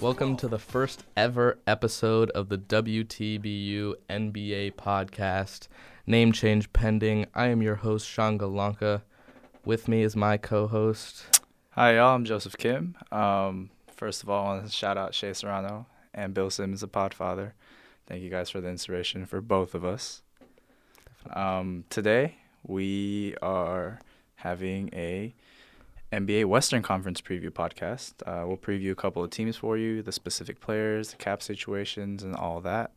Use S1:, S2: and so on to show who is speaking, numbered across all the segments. S1: Welcome to the first ever episode of the WTBU NBA podcast. Name change pending. I am your host, Sean Galanka. With me is my co host.
S2: Hi, y'all. I'm Joseph Kim. Um, first of all, I want to shout out Shea Serrano and Bill Simmons, the Podfather. Thank you guys for the inspiration for both of us. Um, today, we are having a NBA Western Conference preview podcast. Uh, we'll preview a couple of teams for you, the specific players, the cap situations, and all that.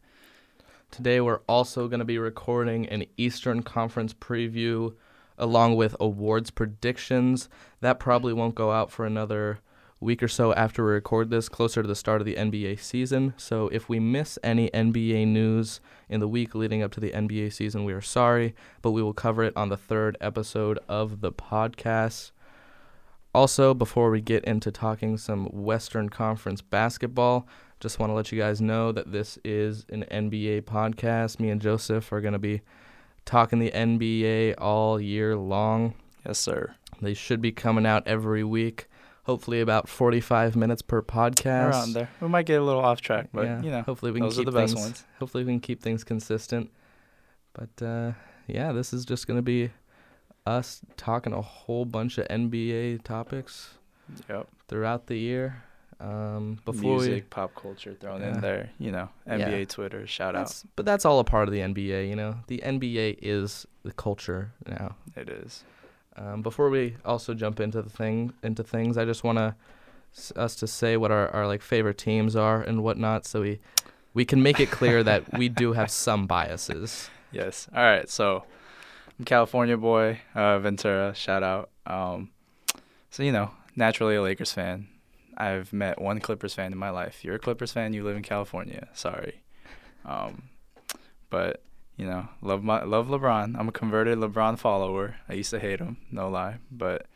S1: Today, we're also going to be recording an Eastern Conference preview along with awards predictions. That probably won't go out for another week or so after we record this, closer to the start of the NBA season. So if we miss any NBA news in the week leading up to the NBA season, we are sorry, but we will cover it on the third episode of the podcast. Also, before we get into talking some Western Conference basketball, just want to let you guys know that this is an NBA podcast. Me and Joseph are going to be talking the NBA all year long.
S2: Yes, sir.
S1: They should be coming out every week, hopefully about 45 minutes per podcast.
S2: Around there. We might get a little off track, but
S1: yeah,
S2: you know,
S1: hopefully we can
S2: those are
S1: keep
S2: the best
S1: things,
S2: ones.
S1: Hopefully we can keep things consistent. But uh, yeah, this is just going to be us talking a whole bunch of NBA topics
S2: Yep.
S1: throughout the year. Um, before we,
S2: Music, pop culture thrown
S1: Yeah.
S2: in there. You know, NBA Twitter, shout out.
S1: that's, but that's all a part of the NBA, you know. The NBA is the culture now.
S2: It is.
S1: Um, before we also jump into the thing into things, I just want to us to say what our, our like favorite teams are and whatnot, so we we can make it clear that we do have some biases.
S2: Yes. All right. So I'm California boy, uh, Ventura, shout out. Um, so, you know, naturally a Lakers fan. I've met one Clippers fan in my life. You're a Clippers fan, you live in California. Sorry. Um, but, you know, love my love LeBron. I'm a converted LeBron follower. I used to hate him, no lie. But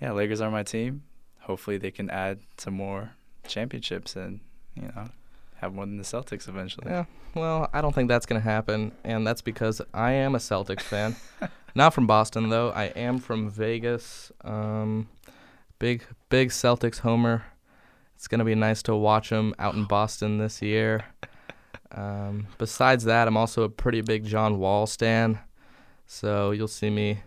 S2: yeah, Lakers are my team. Hopefully they can add some more championships and, you know, have more than the Celtics eventually.
S1: Yeah. Well, I don't think that's gonna happen, and that's because I am a Celtics fan. Not from Boston though. I am from Vegas. Um, big big Celtics homer. It's gonna be nice to watch them out in Boston this year. Um, besides that, I'm also a pretty big John Wall stan, so you'll see me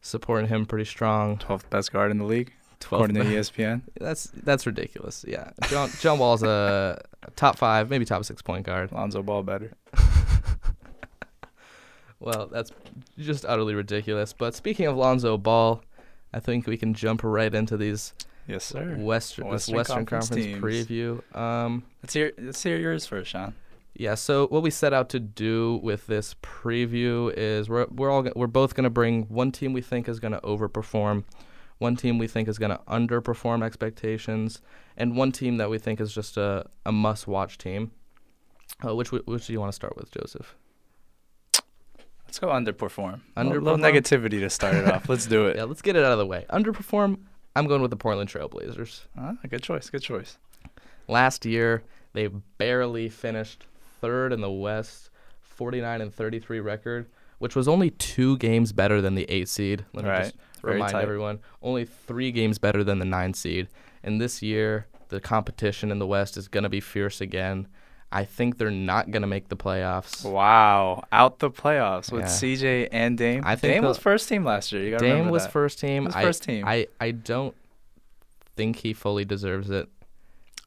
S1: supporting him pretty strong.
S2: 12th best guard in the league, according to E
S1: Twelve.
S2: ESPN.
S1: That's that's ridiculous. Yeah, John John Wall's a top five, maybe top six point guard.
S2: Lonzo Ball better.
S1: Well, that's just utterly ridiculous. But speaking of Lonzo Ball, I think we can jump right into these
S2: Yes, sir.
S1: Western, this
S2: Western
S1: Western
S2: Conference
S1: Conference,
S2: teams.
S1: preview. Um,
S2: Let's hear let's hear yours first, Sean.
S1: yeah, so what we set out to do with this preview is we're we're all go- we're both going to bring one team we think is going to overperform, one team we think is going to underperform expectations, and one team that we think is just a, a must-watch team. Uh, which w- which do you want to start with, Joseph?
S2: Let's go underperform.
S1: Underperform?
S2: A little negativity to start it off. Let's do it.
S1: Yeah, let's get it out of the way. Underperform. I'm going with the Portland Trailblazers.
S2: Huh? good choice. Good choice.
S1: last year they barely finished third in the west 49 and 33 record which was only two games better than the eight seed let me
S2: Right.
S1: just
S2: Very
S1: remind
S2: tight.
S1: everyone only three games better than the nine seed and this year the competition in the west is going to be fierce again i think they're not going to make the playoffs
S2: Oh, Wow, out the playoffs with
S1: Yeah.
S2: CJ and Dame.
S1: I think
S2: Dame
S1: the-
S2: was first team last year. You gotta
S1: dame
S2: remember
S1: was
S2: that.
S1: first team
S2: He was
S1: I,
S2: first team.
S1: I, I don't think he fully deserves it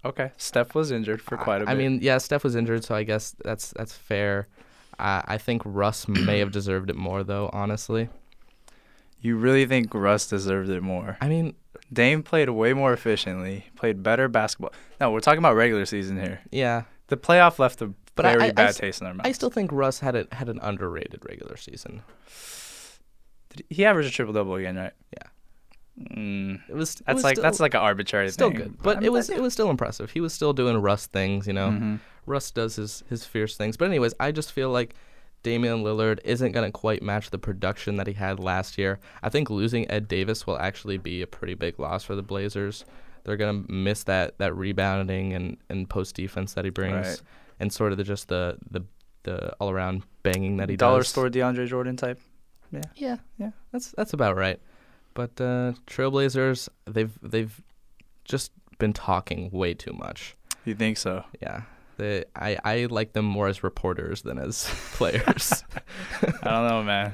S2: Okay, Steph was injured for quite a bit.
S1: I mean, yeah, Steph was injured, so I guess that's that's fair. I I think Russ may have deserved it more, though. Honestly,
S2: you really think Russ deserved it more?
S1: I mean,
S2: Dame played way more efficiently, played better basketball. No, we're talking about regular season here.
S1: yeah,
S2: The playoff left a
S1: But I-
S2: very
S1: I- I
S2: bad
S1: s-
S2: taste in our mouth.
S1: I still think Russ had a, had an underrated regular season.
S2: he averaged a triple double again, right?
S1: Yeah.
S2: Mm,
S1: It was it
S2: That's
S1: was
S2: like
S1: still,
S2: that's like an arbitrary
S1: still
S2: thing.
S1: good, but
S2: I
S1: it
S2: mean,
S1: was
S2: that-
S1: it was still impressive. He was still doing Russ things, you know.
S2: Mhm.
S1: Russ does his his fierce things, but anyways, I just feel like. Damian Lillard isn't going to quite match the production that he had last year. I think losing Ed Davis will actually be a pretty big loss for the Blazers. They're going to miss that that rebounding and, and post defense that he brings.
S2: Right.
S1: and sort of the, just the the the all around banging that he
S2: dollar
S1: does.
S2: store DeAndre Jordan type.
S1: Yeah,
S2: Yeah.
S1: That's that's about right. But uh, Trailblazers, they've they've just been talking way too much.
S2: You think so?
S1: Yeah. They, I, I like them more as reporters than as players.
S2: I don't know, man.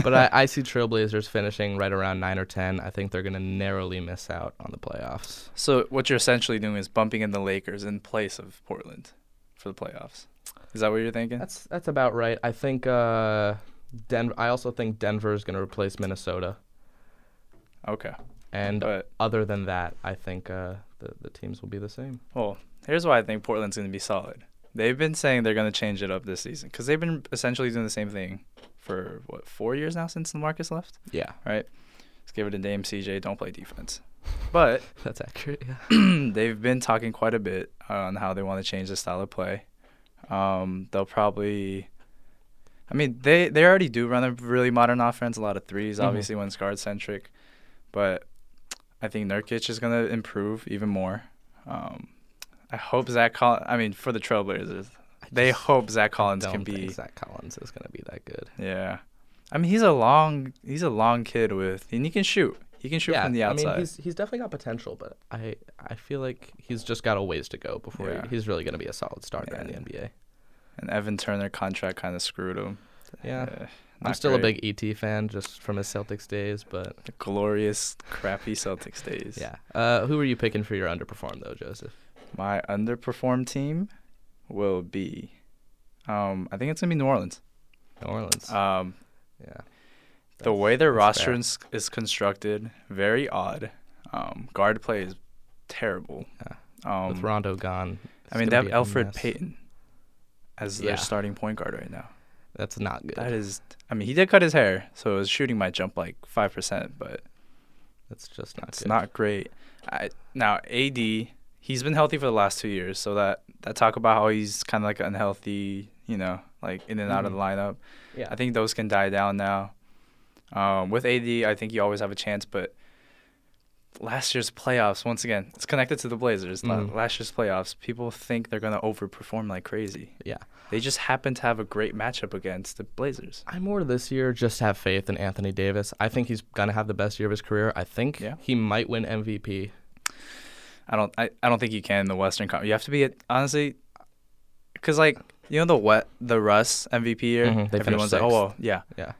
S1: but I, I see Trailblazers finishing right around 9 or 10. I think they're going to narrowly miss out on the playoffs.
S2: So what you're essentially doing is bumping in the Lakers in place of Portland for the playoffs. Is that what you're thinking?
S1: That's that's about right. I think uh, Den- I also think Denver is going to replace Minnesota.
S2: okay.
S1: And
S2: But
S1: other than that, I think uh, the, the teams will be the same.
S2: well, here's why I think Portland's going to be solid. They've been saying they're going to change it up this season because they've been essentially doing the same thing for what four years now since Marcus left.
S1: Yeah,
S2: Let's give it a name, CJ. Don't play defense. But
S1: that's accurate. Yeah.
S2: they've been talking quite a bit on how they want to change the style of play. Um, they'll probably, I mean, they they already do run a really modern offense, a lot of 3s
S1: Mhm.
S2: obviously when it's guard centric, but I think Nurkic is gonna improve even more. Um, I hope Zach Collins. I mean, for the Trailblazers, they hope Zach Collins
S1: don't
S2: can be.
S1: think Zach Collins is going to be that good.
S2: Yeah, I mean, he's a long he's a long kid with, and he can shoot. He can shoot
S1: yeah,
S2: from the outside.
S1: I mean, he's he's definitely got potential, but I I feel like he's just got a ways to go before
S2: Yeah.
S1: he, he's really going to be a solid starter in the
S2: Yeah.
S1: NBA.
S2: and Evan Turner contract kind of screwed him.
S1: Yeah.
S2: Uh,
S1: I'm
S2: not
S1: still
S2: great.
S1: a big ET fan just from his Celtics days, but
S2: The glorious, crappy Celtics days.
S1: yeah. Uh, who are you picking for your underperform though, Joseph?
S2: My underperformed team will be, um, I think it's gonna be New Orleans.
S1: New Orleans.
S2: Um,
S1: yeah.
S2: the way their
S1: that's
S2: roster
S1: fair.
S2: is, is constructed, very odd. Um, guard play is terrible.
S1: Yeah.
S2: Um,
S1: with Rondo gone, it's
S2: I mean,
S1: gonna
S2: they
S1: be
S2: have
S1: a
S2: Alfred
S1: mess.
S2: Payton as
S1: Yeah.
S2: their starting point guard right now.
S1: That's not good.
S2: That is, I mean, he did cut his hair, so his shooting might jump like five percent, but
S1: That's just not
S2: It's
S1: good.
S2: not great. I, now AD, he's been healthy for the last two years, so that that talk about how he's kind of like unhealthy, you know, like in and out of the lineup.
S1: Yeah.
S2: I think those can die down now. Um, with AD, I think you always have a chance, but last year's playoffs, once again, it's connected to the Blazers. La-
S1: Mhm.
S2: Last year's playoffs, people think they're gonna overperform like crazy.
S1: Yeah.
S2: They just happen to have a great matchup against the Blazers.
S1: I more this year just have faith in Anthony Davis. I think he's gonna have the best year of his career. I think
S2: Yeah.
S1: he might win MVP.
S2: I don't. I, I don't think you can in the Western Conference. You have to be at, honestly, because like you know the wet the Russ MVP year.
S1: Mhm, they finished
S2: everyone's like, oh
S1: sixth.
S2: well, yeah,
S1: Yeah.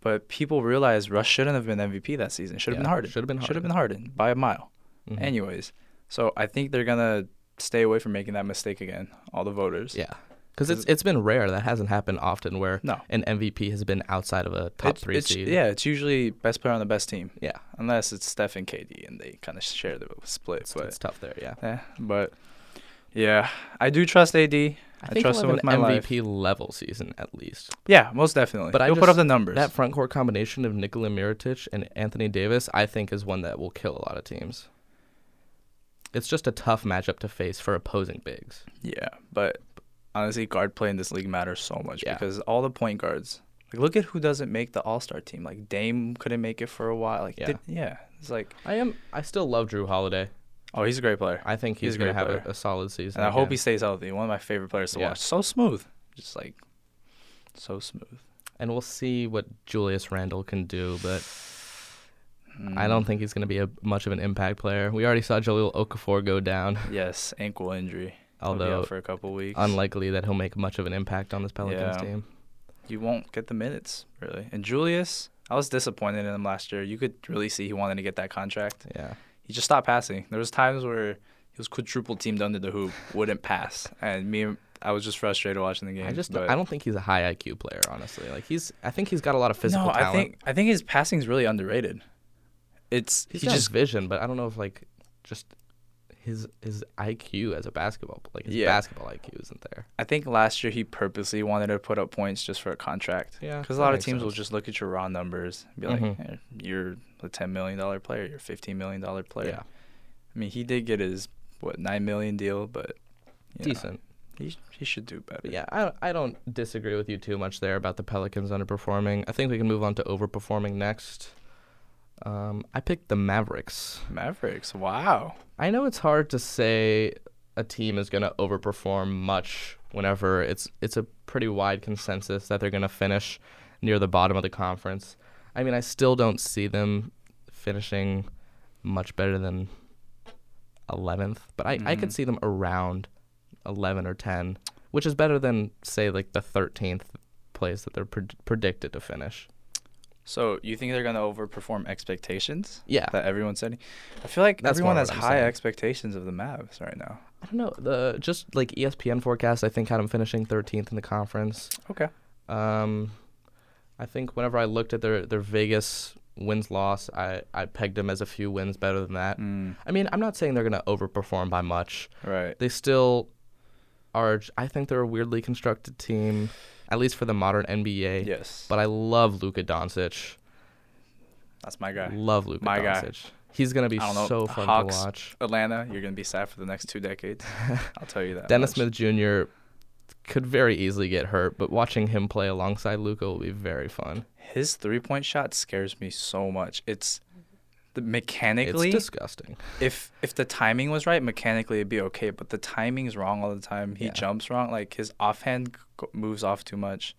S2: But people realize Russ shouldn't have been MVP that season. Should have
S1: Yeah,
S2: been Harden.
S1: should have been
S2: Should have been Harden by a mile.
S1: Mhm.
S2: Anyways, so I think they're gonna stay away from making that mistake again. All the voters.
S1: Yeah, because
S2: 'Cause
S1: it's it's been rare. That hasn't happened often where
S2: No.
S1: an MVP has been outside of a top
S2: It's-
S1: three
S2: it's-
S1: seed.
S2: Yeah, it's usually best player on the best team.
S1: Yeah.
S2: Unless it's Steph and KD and they kind of share the split.
S1: it's,
S2: but
S1: it's tough there. Yeah,
S2: yeah, but yeah, I do trust AD.
S1: I,
S2: I
S1: think
S2: trust
S1: he'll
S2: him
S1: have
S2: with
S1: an
S2: my life.
S1: MVP level season at least.
S2: Yeah, most definitely.
S1: But
S2: But
S1: I
S2: you'll
S1: just-
S2: put up the numbers.
S1: That front court combination of Nikola Mirotic and Anthony Davis, I think, is one that will kill a lot of teams. It's just a tough matchup to face for opposing bigs.
S2: yeah, but honestly, guard play in this league matters so much
S1: Yeah.
S2: because all the point guards. Like, look at who doesn't make the All Star team. Like Dame couldn't make it for a while. Like,
S1: Yeah.
S2: yeah, yeah. It's like,
S1: I am. I still love Drew Holiday.
S2: oh, he's a great player,
S1: I think he's,
S2: He's a
S1: going to
S2: great
S1: have a,
S2: player.
S1: a solid season.
S2: and I hope
S1: again.
S2: he stays healthy. One of my favorite players to
S1: Yeah.
S2: watch. So smooth, just like so smooth.
S1: And we'll see what Julius Randle can do, but
S2: Hmm.
S1: I don't think he's going to be a, much of an impact player. We already saw Jaleel Okafor go down,
S2: Yes, ankle injury. He'll be out
S1: although
S2: for a couple weeks,
S1: unlikely that he'll make much of an impact on this Pelicans
S2: Yeah.
S1: team.
S2: you won't get the minutes really. And Julius, I was disappointed in him last year. You could really see he wanted to get that contract.
S1: Yeah.
S2: he just stopped passing. There was times where he was quadruple teamed under the hoop, wouldn't pass, and me, I was just frustrated watching the game.
S1: I just
S2: but-
S1: I don't think he's a high IQ player, honestly. Like he's I think he's got a lot of physical
S2: no.
S1: talent.
S2: I think I think his passing is really underrated. It's
S1: he's
S2: he
S1: got
S2: just
S1: vision, but I don't know if like just his his IQ as a basketball pl- like his
S2: Yeah.
S1: basketball IQ isn't there.
S2: I think last year he purposely wanted to put up points just for a contract.
S1: Yeah,
S2: Because a
S1: that
S2: lot of
S1: makes
S2: teams will
S1: sense.
S2: just look at your raw numbers and be like,
S1: Mhm.
S2: "Eh, you're a ten million dollar player, you're a fifteen million dollar player.
S1: Yeah.
S2: I mean, he did get his what nine million deal, but you know,
S1: Decent.
S2: he he should do better.
S1: But yeah, I, I don't disagree with you too much there about the Pelicans underperforming. I think we can move on to overperforming next. Um, I picked the Mavericks.
S2: Mavericks. Wow.
S1: I know it's hard to say a team is going to overperform much whenever it's it's a pretty wide consensus that they're going to finish near the bottom of the conference. I mean, I still don't see them finishing much better than 11th, but I, I could
S2: Mhm.
S1: see them around 11 or 10, which is better than, say, like the 13th place that they're pred predicted to finish.
S2: So you think they're gonna overperform expectations
S1: Yeah.
S2: that everyone's setting? I feel like
S1: That's
S2: everyone
S1: more
S2: has
S1: what I'm
S2: high
S1: saying.
S2: expectations of the Mavs right now.
S1: I don't know. The Just like E ESPN forecast, I think had them finishing 13th in the conference.
S2: Okay.
S1: Um, I think whenever I looked at their, their Vegas wins loss, I, I pegged them as a few wins better than that.
S2: Mm,
S1: I mean, I'm not saying they're going to overperform by much.
S2: right.
S1: They still are, I think they're a weirdly constructed team, at least for the modern NBA.
S2: Yes.
S1: But I love Luka Doncic.
S2: That's my guy.
S1: Love Luka
S2: My guy.
S1: Doncic. He's gonna be
S2: I don't know,
S1: so
S2: the
S1: fun
S2: Hawks-
S1: to watch.
S2: Atlanta, you're gonna be sad for the next two decades. I'll tell you that.
S1: Dennis
S2: much.
S1: Smith Jr. could very easily get hurt, but watching him play alongside Luka will be very fun.
S2: His three point shot scares me so much. It's the
S1: It's
S2: mechanically
S1: disgusting.
S2: if if the timing was right, mechanically it'd be okay. But the timing's wrong all the time. He
S1: Yeah.
S2: jumps wrong. Like his offhand g- moves off too much.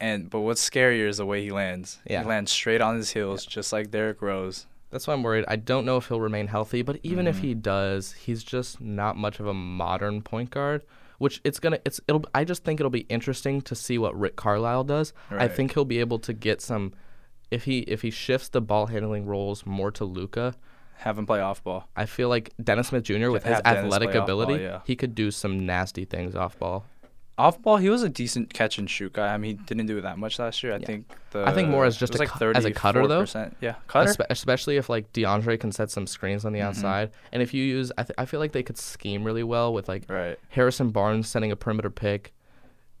S2: And but what's scarier is the way he lands.
S1: Yeah.
S2: He lands straight on his heels, just like Derrick Rose.
S1: That's why I'm worried. I don't know if he'll remain healthy, but even if
S2: Mhm.
S1: he does, he's just not much of a modern point guard. Which it's gonna it's it'll I just think it'll be interesting to see what Rick Carlisle does. I
S2: Right.
S1: think he'll be able to get some if he if he shifts the ball handling roles more to Luca,
S2: Have him play off ball.
S1: I feel like Dennis Smith Jr. with his
S2: have Dennis
S1: athletic
S2: play off ball,
S1: ability,
S2: yeah.
S1: he could do some nasty things off ball.
S2: Off ball, he was a decent catch and shoot guy. I mean, he didn't do that much last year. I
S1: Yeah.
S2: think the
S1: I think more as just
S2: it was
S1: a
S2: like
S1: cu- as a cutter, though.
S2: 34%. Yeah, cutter.
S1: Espe- especially if like DeAndre can set some screens on the
S2: Mm-hmm.
S1: outside, and if you use, I, th- I feel like they could scheme really well with like
S2: right.
S1: Harrison Barnes sending a perimeter pick,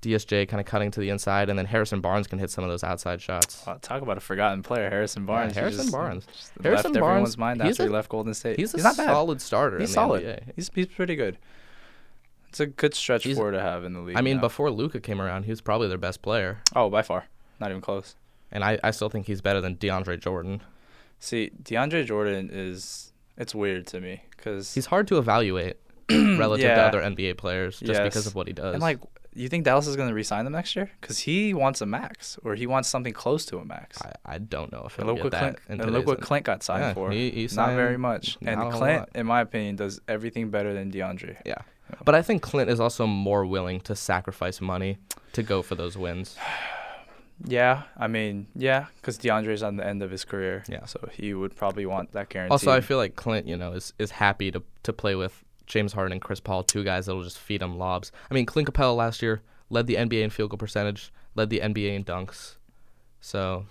S1: DSJ kind of cutting to the inside, and then Harrison Barnes can hit some of those outside shots.
S2: Wow, talk about a forgotten player, Harrison Barnes. He
S1: Harrison
S2: just-
S1: Barnes.
S2: just
S1: Harrison
S2: left everyone's
S1: Barnes,
S2: mind
S1: he's
S2: after
S1: a-
S2: he left Golden State.
S1: He's a
S2: not bad.
S1: solid starter.
S2: He's
S1: in
S2: solid.
S1: The NBA.
S2: He's he's pretty good. It's a good stretch
S1: He's-
S2: forward to have in the league.
S1: I mean,
S2: now.
S1: before Luca came around, he was probably their best player,
S2: oh, by far, not even close.
S1: and I, I still think he's better than DeAndre Jordan.
S2: See, DeAndre Jordan is it's weird to me because
S1: He's hard to evaluate relative to
S2: Yeah.
S1: other NBA players just because
S2: Yes.
S1: of what he does.
S2: and like you think Dallas is going to re-sign him next year because he wants a max or he wants something close to a max.
S1: I, I don't know if
S2: And look,
S1: he'll get
S2: what
S1: that.
S2: Clint,
S1: in
S2: and look what
S1: today's-
S2: Clint got signed
S1: Yeah,
S2: for.
S1: he- he
S2: not very
S1: signed
S2: much.
S1: not a
S2: And
S1: whole
S2: Clint,
S1: lot.
S2: in my opinion, does everything better than DeAndre.
S1: Yeah. But I think Clint is also more willing to sacrifice money to go for those wins.
S2: Yeah, I mean, yeah, because DeAndre's on the end of his career.
S1: Yeah.
S2: So he would probably want that guarantee.
S1: Also, I feel like Clint, you know, is, is happy to, to play with James Harden and Chris Paul, two guys that'll just feed him lobs. I mean, Clint Capella last year led the NBA in field goal percentage, led the NBA in dunks. So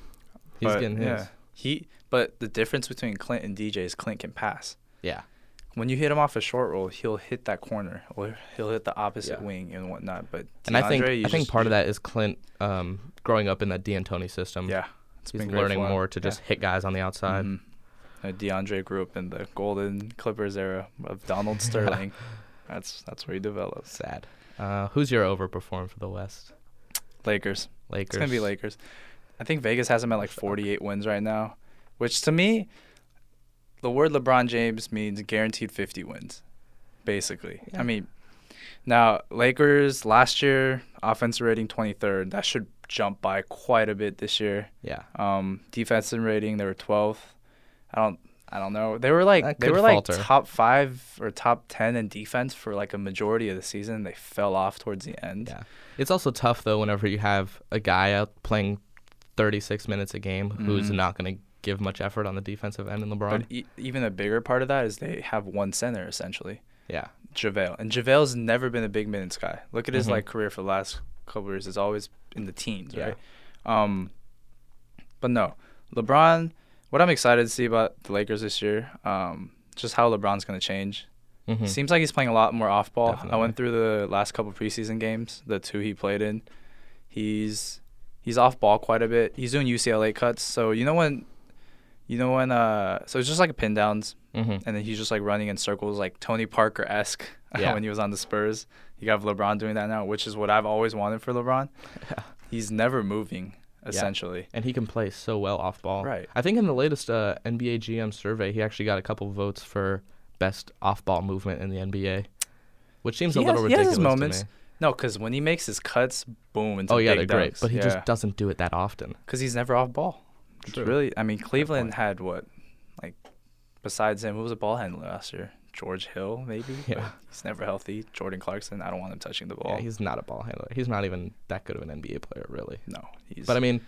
S1: he's
S2: But,
S1: getting his. Yeah.
S2: He, but the difference between Clint and DJ is Clint can pass.
S1: Yeah.
S2: When you hit him off a short roll, he'll hit that corner or he'll hit the opposite
S1: Yeah.
S2: wing and whatnot. But
S1: And I think
S2: DeAndre, you
S1: I think
S2: just-
S1: part of that is Clint um, growing up in that D'Antoni system.
S2: yeah, it's
S1: He's
S2: been great
S1: learning
S2: for him.
S1: more to
S2: Yeah.
S1: just hit guys on the outside.
S2: Mhm. Uh, DeAndre grew up in the Golden Clippers era of Donald Sterling. That's that's where he develops.
S1: Sad. Uh, who's your overperform for the West?
S2: Lakers.
S1: Lakers.
S2: It's gonna be Lakers. I think Vegas has them at like 48 wins right now, which to me, the word LeBron James means guaranteed 50 wins, basically.
S1: Yeah.
S2: I mean, now Lakers last year offensive rating 23rd. That should jump by quite a bit this year.
S1: Yeah.
S2: Um, defensive rating they were 12th. I don't. I don't know. They were like
S1: That
S2: they
S1: could
S2: were like
S1: falter.
S2: top five or top ten in defense for like a majority of the season. They fell off towards the end.
S1: Yeah. It's also tough though whenever you have a guy out playing 36 minutes a game who's
S2: Mhm.
S1: not going to give much effort on the defensive end in LeBron.
S2: But e- even a bigger part of that is they have one center essentially,
S1: yeah.
S2: JaVale, and JaVale's never been a big minutes guy. Look at his
S1: Mhm.
S2: like career for the last couple years; it's always in the teens,
S1: Yeah.
S2: right? Um, but no, LeBron. What I'm excited to see about the Lakers this year, um, just how LeBron's going to change.
S1: hmm
S2: Seems like he's playing a lot more off ball. I
S1: Definitely.
S2: went through the last couple preseason games, the two he played in. He's he's off ball quite a bit. He's doing UCLA cuts. So you know when you know when uh so it's just like pin downs
S1: hmm
S2: and then he's just like running in circles like Tony Parker esque
S1: Yeah.
S2: when he was on the Spurs. You have LeBron doing that now, which is what I've always wanted for LeBron. He's never moving, essentially.
S1: And he can play so well off ball.
S2: Right.
S1: I think in the latest uh, NBA GM survey, he actually got a couple votes for best off ball movement in the NBA, which seems
S2: He
S1: a little
S2: has- he has
S1: ridiculous
S2: his moments.
S1: to me.
S2: No, because when he makes his cuts, boom, into
S1: Oh yeah, they're
S2: big
S1: great,
S2: dunks.
S1: but he
S2: Yeah.
S1: just doesn't do it that often.
S2: because he's never off ball. It's
S1: True.
S2: really, I mean, Cleveland
S1: point.
S2: had what, like, besides him, who was a ball handler last year? George Hill, maybe.
S1: Yeah.
S2: but He's never healthy. Jordan Clarkson, I don't want him touching the ball.
S1: Yeah, he's not a ball handler. He's not even that good of an NBA player, really.
S2: no, he's.
S1: But I mean,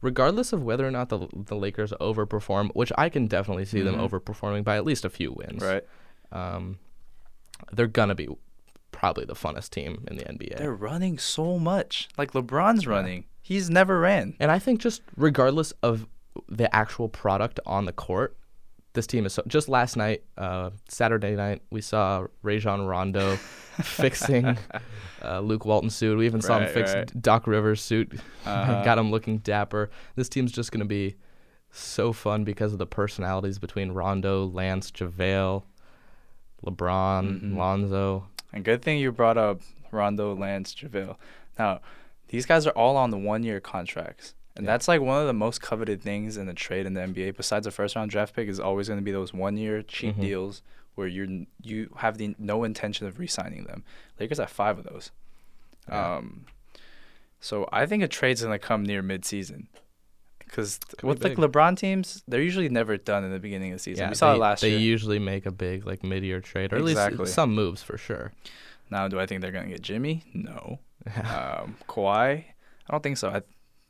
S1: regardless of whether or not the the Lakers overperform, which I can definitely see them
S2: Mhm.
S1: overperforming by at least a few wins.
S2: right.
S1: Um, they're gonna be probably the funnest team in the NBA.
S2: They're running so much. Like LeBron's
S1: Yeah.
S2: running. He's never ran.
S1: and I think just regardless of the actual product on the court, this team is so. Just last night, uh, Saturday night, we saw Rajon Rondo fixing uh, Luke Walton's suit. We even saw him
S2: Right,
S1: fix
S2: right.
S1: Doc Rivers' suit.
S2: Uh-huh.
S1: Got him looking dapper. This team's just gonna be so fun because of the personalities between Rondo, Lance, JaVale, LeBron,
S2: Mhm.
S1: Lonzo.
S2: And good thing you brought up Rondo, Lance, JaVale. Now, these guys are all on the one year contracts. And
S1: Yeah.
S2: that's like one of the most coveted things in the trade in the NBA, besides a first round draft pick, is always going to be those one year cheap
S1: Mhm.
S2: deals where you're, n- you have the, no intention of re signing them. Lakers have five of those.
S1: Yeah.
S2: Um, so I think a trade's going to come near midseason. Because
S1: be
S2: with like
S1: big.
S2: LeBron teams, they're usually never done in the beginning of the season. we saw
S1: they,
S2: it last
S1: they
S2: year.
S1: usually make a big like mid-year trade, or at
S2: Exactly.
S1: least some moves for sure.
S2: Now, do I think they're going to get Jimmy? No. um, Kawhi? I don't think so. I,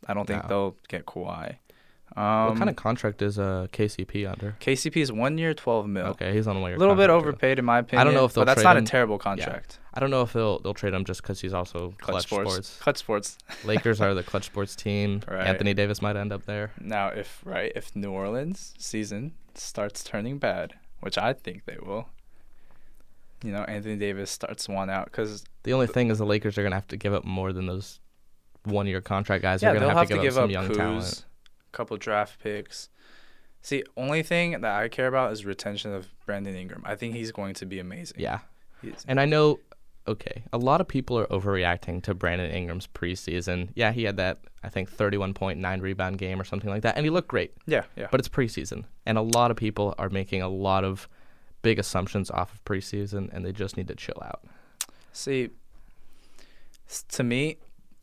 S2: I don't think
S1: No.
S2: they'll get Kawhi. Um,
S1: what kind of contract is uh, KCP under?
S2: KCP is one year, twelve mil.
S1: Okay, he's on a
S2: A
S1: one-year
S2: Oh, little bit
S1: contract, too.
S2: overpaid in my opinion.
S1: know if they'll
S2: but that's
S1: trade
S2: not
S1: him.
S2: a terrible contract.
S1: I don't know if they'll they'll trade him just because he's also
S2: Clutch,
S1: clutch,
S2: sports.
S1: sports.
S2: Clutch sports.
S1: Lakers are the clutch sports team.
S2: Right.
S1: Anthony Davis might end up there.
S2: Now, if right, if New Orleans season starts turning bad, which I think they will, you know, Anthony Davis starts one out because
S1: The only thing is the Lakers are gonna have to give up more than those one-year contract guys.
S2: yeah,
S1: are
S2: they'll
S1: gonna
S2: have
S1: to give, up, some young
S2: Kuz,
S1: talent.
S2: couple draft picks. See, only thing that I care about is retention of Brandon Ingram. I think he's going to be amazing.
S1: Yeah,
S2: He's-
S1: and I know. Okay, a lot of people are overreacting to Brandon Ingram's preseason. Yeah, he had that I think 31.9 rebound game or something like that, and he looked great.
S2: yeah, yeah.
S1: But it's preseason, and a lot of people are making a lot of big assumptions off of preseason, and they just need to chill out.
S2: See, s- to me,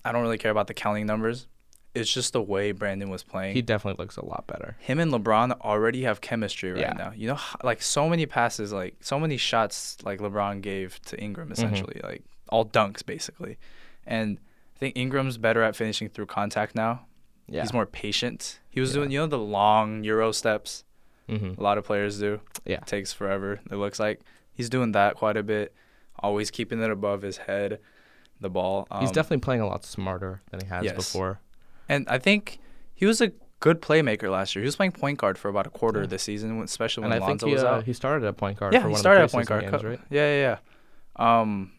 S2: I don't really care about the counting numbers. It's just the way Brandon was playing.
S1: He definitely looks a lot better.
S2: Him and LeBron already have chemistry right
S1: Yeah.
S2: now. You know, h- like so many passes, like so many shots, like LeBron gave to Ingram
S1: Mm-hmm.
S2: essentially, like all dunks basically. And I think Ingram's better at finishing through contact now.
S1: Yeah.
S2: He's more patient. He was doing, you know, the long Euro steps.
S1: Mhm.
S2: A lot of players do.
S1: Yeah.
S2: takes forever. It looks like he's doing that quite a bit. Always keeping it above his head, the ball. Um,
S1: He's definitely playing a lot smarter than he has
S2: yes.
S1: before.
S2: And I think he was a good playmaker last year. He was playing point guard for about a quarter of the season, when- especially when
S1: and I think
S2: Lonzo
S1: he,
S2: was
S1: uh,
S2: out.
S1: he started at point guard
S2: yeah,
S1: for
S2: he
S1: one
S2: started
S1: of
S2: at
S1: the
S2: point guard.
S1: preseason
S2: co-
S1: games, right?
S2: Yeah, yeah, yeah. Um,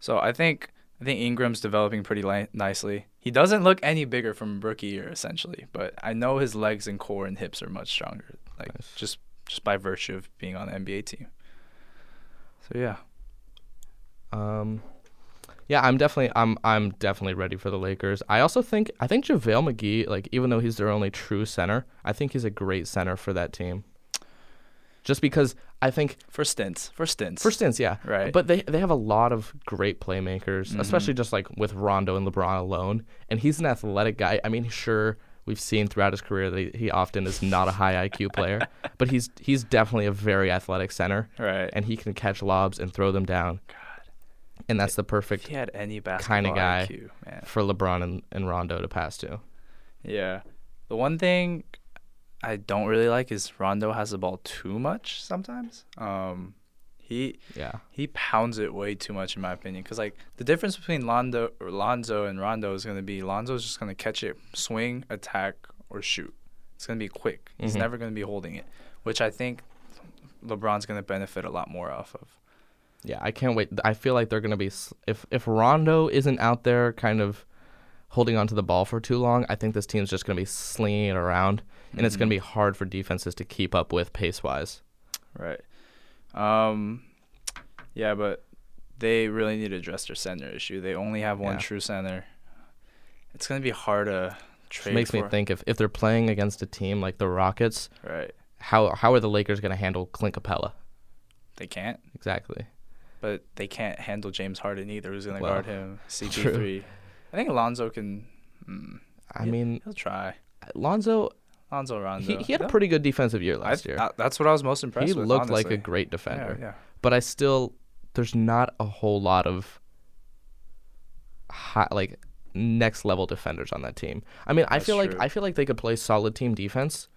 S2: so I think I think Ingram's developing pretty li- nicely. He doesn't look any bigger from rookie year essentially, but I know his legs and core and hips are much stronger, like
S1: Nice.
S2: just just by virtue of being on the NBA team. So yeah.
S1: Um, yeah, I'm definitely I'm I'm definitely ready for the Lakers. I also think I think JaVale McGee, like even though he's their only true center, I think he's a great center for that team. Just because I think
S2: For stints. For stints.
S1: for stints, yeah.
S2: Right. Mm-hmm.
S1: But they they have a lot of great playmakers, especially just like with Rondo and LeBron alone. And he's an athletic guy. I mean, sure, we've seen throughout his career that he- he often is not a high IQ player, but he's he's definitely a very athletic center,
S2: Right.
S1: and he can catch lobs and throw them down.
S2: God.
S1: And that's the
S2: If
S1: perfect
S2: he had any basketball
S1: guy.
S2: IQ, man.
S1: for LeBron and, and Rondo to pass to.
S2: Yeah. The one thing I don't really like is Rondo has the ball too much sometimes. Um, he
S1: Yeah.
S2: he pounds it way too much in my opinion. Cause like the difference between Londo or Lonzo and Rondo is gonna be Lonzo's just gonna catch it, swing, attack, or shoot. It's gonna be quick. He's
S1: Mhm.
S2: never gonna be holding it, which I think LeBron's gonna benefit a lot more off of.
S1: Yeah, I can't wait. I feel like they're gonna be s- if if Rondo isn't out there, kind of holding onto the ball for too long. I think this team's just gonna be slinging it around, and it's
S2: Mm-hmm.
S1: gonna be hard for defenses to keep up with pace wise.
S2: Right. Um, yeah, but they really need to address their center issue. They only have one
S1: Yeah.
S2: true center. It's gonna be hard to
S1: Which
S2: trade.
S1: makes me
S2: for-
S1: think if, if they're playing against a team like the Rockets,
S2: Right.
S1: how how are the Lakers gonna handle Clint Capella?
S2: They can't,
S1: Exactly.
S2: but they can't handle James Harden either. Who's gonna
S1: Well,
S2: guard him? CP3. I think Alonzo can. Mm,
S1: I
S2: Yeah.
S1: mean,
S2: he'll try.
S1: Lonzo.
S2: Alonzo
S1: He,
S2: Rondo.
S1: he had a
S2: No,
S1: pretty good defensive year
S2: I,
S1: last year.
S2: I- that's what I was most impressed
S1: he
S2: with.
S1: looked like a
S2: honestly.
S1: great
S2: Yeah,
S1: defender.
S2: yeah.
S1: But I still, there's not a whole lot of high, like next level defenders on that team. I mean, I
S2: That's
S1: feel
S2: true.
S1: like I feel like they could play solid team defense,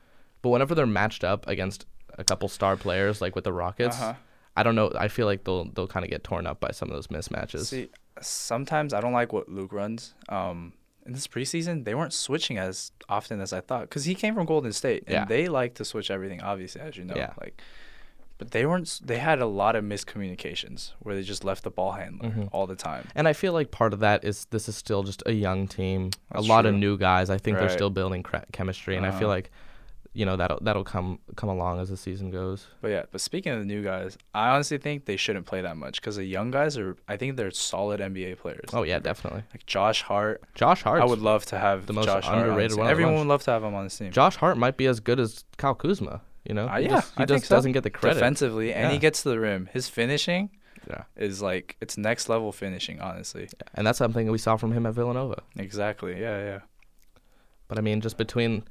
S1: but whenever they're matched up against a couple star players like with the Rockets,
S2: Uh-huh.
S1: I don't know. I feel like they'll they'll kind of get torn up by some of those mismatches.
S2: See, sometimes I don't like what Luke runs. Um, in this preseason, they weren't switching as often as I thought because he came from Golden State and
S1: Yeah.
S2: they like to switch everything, obviously, as you know.
S1: Yeah.
S2: Like, but they weren't. s- They had a lot of miscommunications where they just left the ball handler
S1: Mm-hmm.
S2: all the time.
S1: And I feel like part of that is this is still just a young team,
S2: That's
S1: a lot of
S2: true.
S1: new guys. I think
S2: Right. Uh-huh.
S1: they're still building cra- chemistry, and I feel like, you know, that'll that'll come come along as the season goes.
S2: But yeah, but speaking of the new guys, I honestly think they shouldn't play that much because the young guys are. I think they're solid NBA players.
S1: Oh yeah, definitely.
S2: Like Josh Hart,
S1: Josh Hart.
S2: I would love to have
S1: the most
S2: Josh Hart on his
S1: underrated
S2: team.
S1: one on the
S2: Everyone
S1: bunch.
S2: would love to have him on the team.
S1: Josh Hart might be as good as Kyle Kuzma. You know,
S2: Uh,
S1: he
S2: yeah,
S1: just, he
S2: I
S1: just
S2: think so.
S1: doesn't get the credit.
S2: defensively, and he
S1: Yeah.
S2: gets to the rim. His finishing
S1: Yeah,
S2: is like it's next level finishing, honestly.
S1: and that's something we saw from him at Villanova.
S2: Exactly. Yeah, yeah.
S1: But I mean, just between,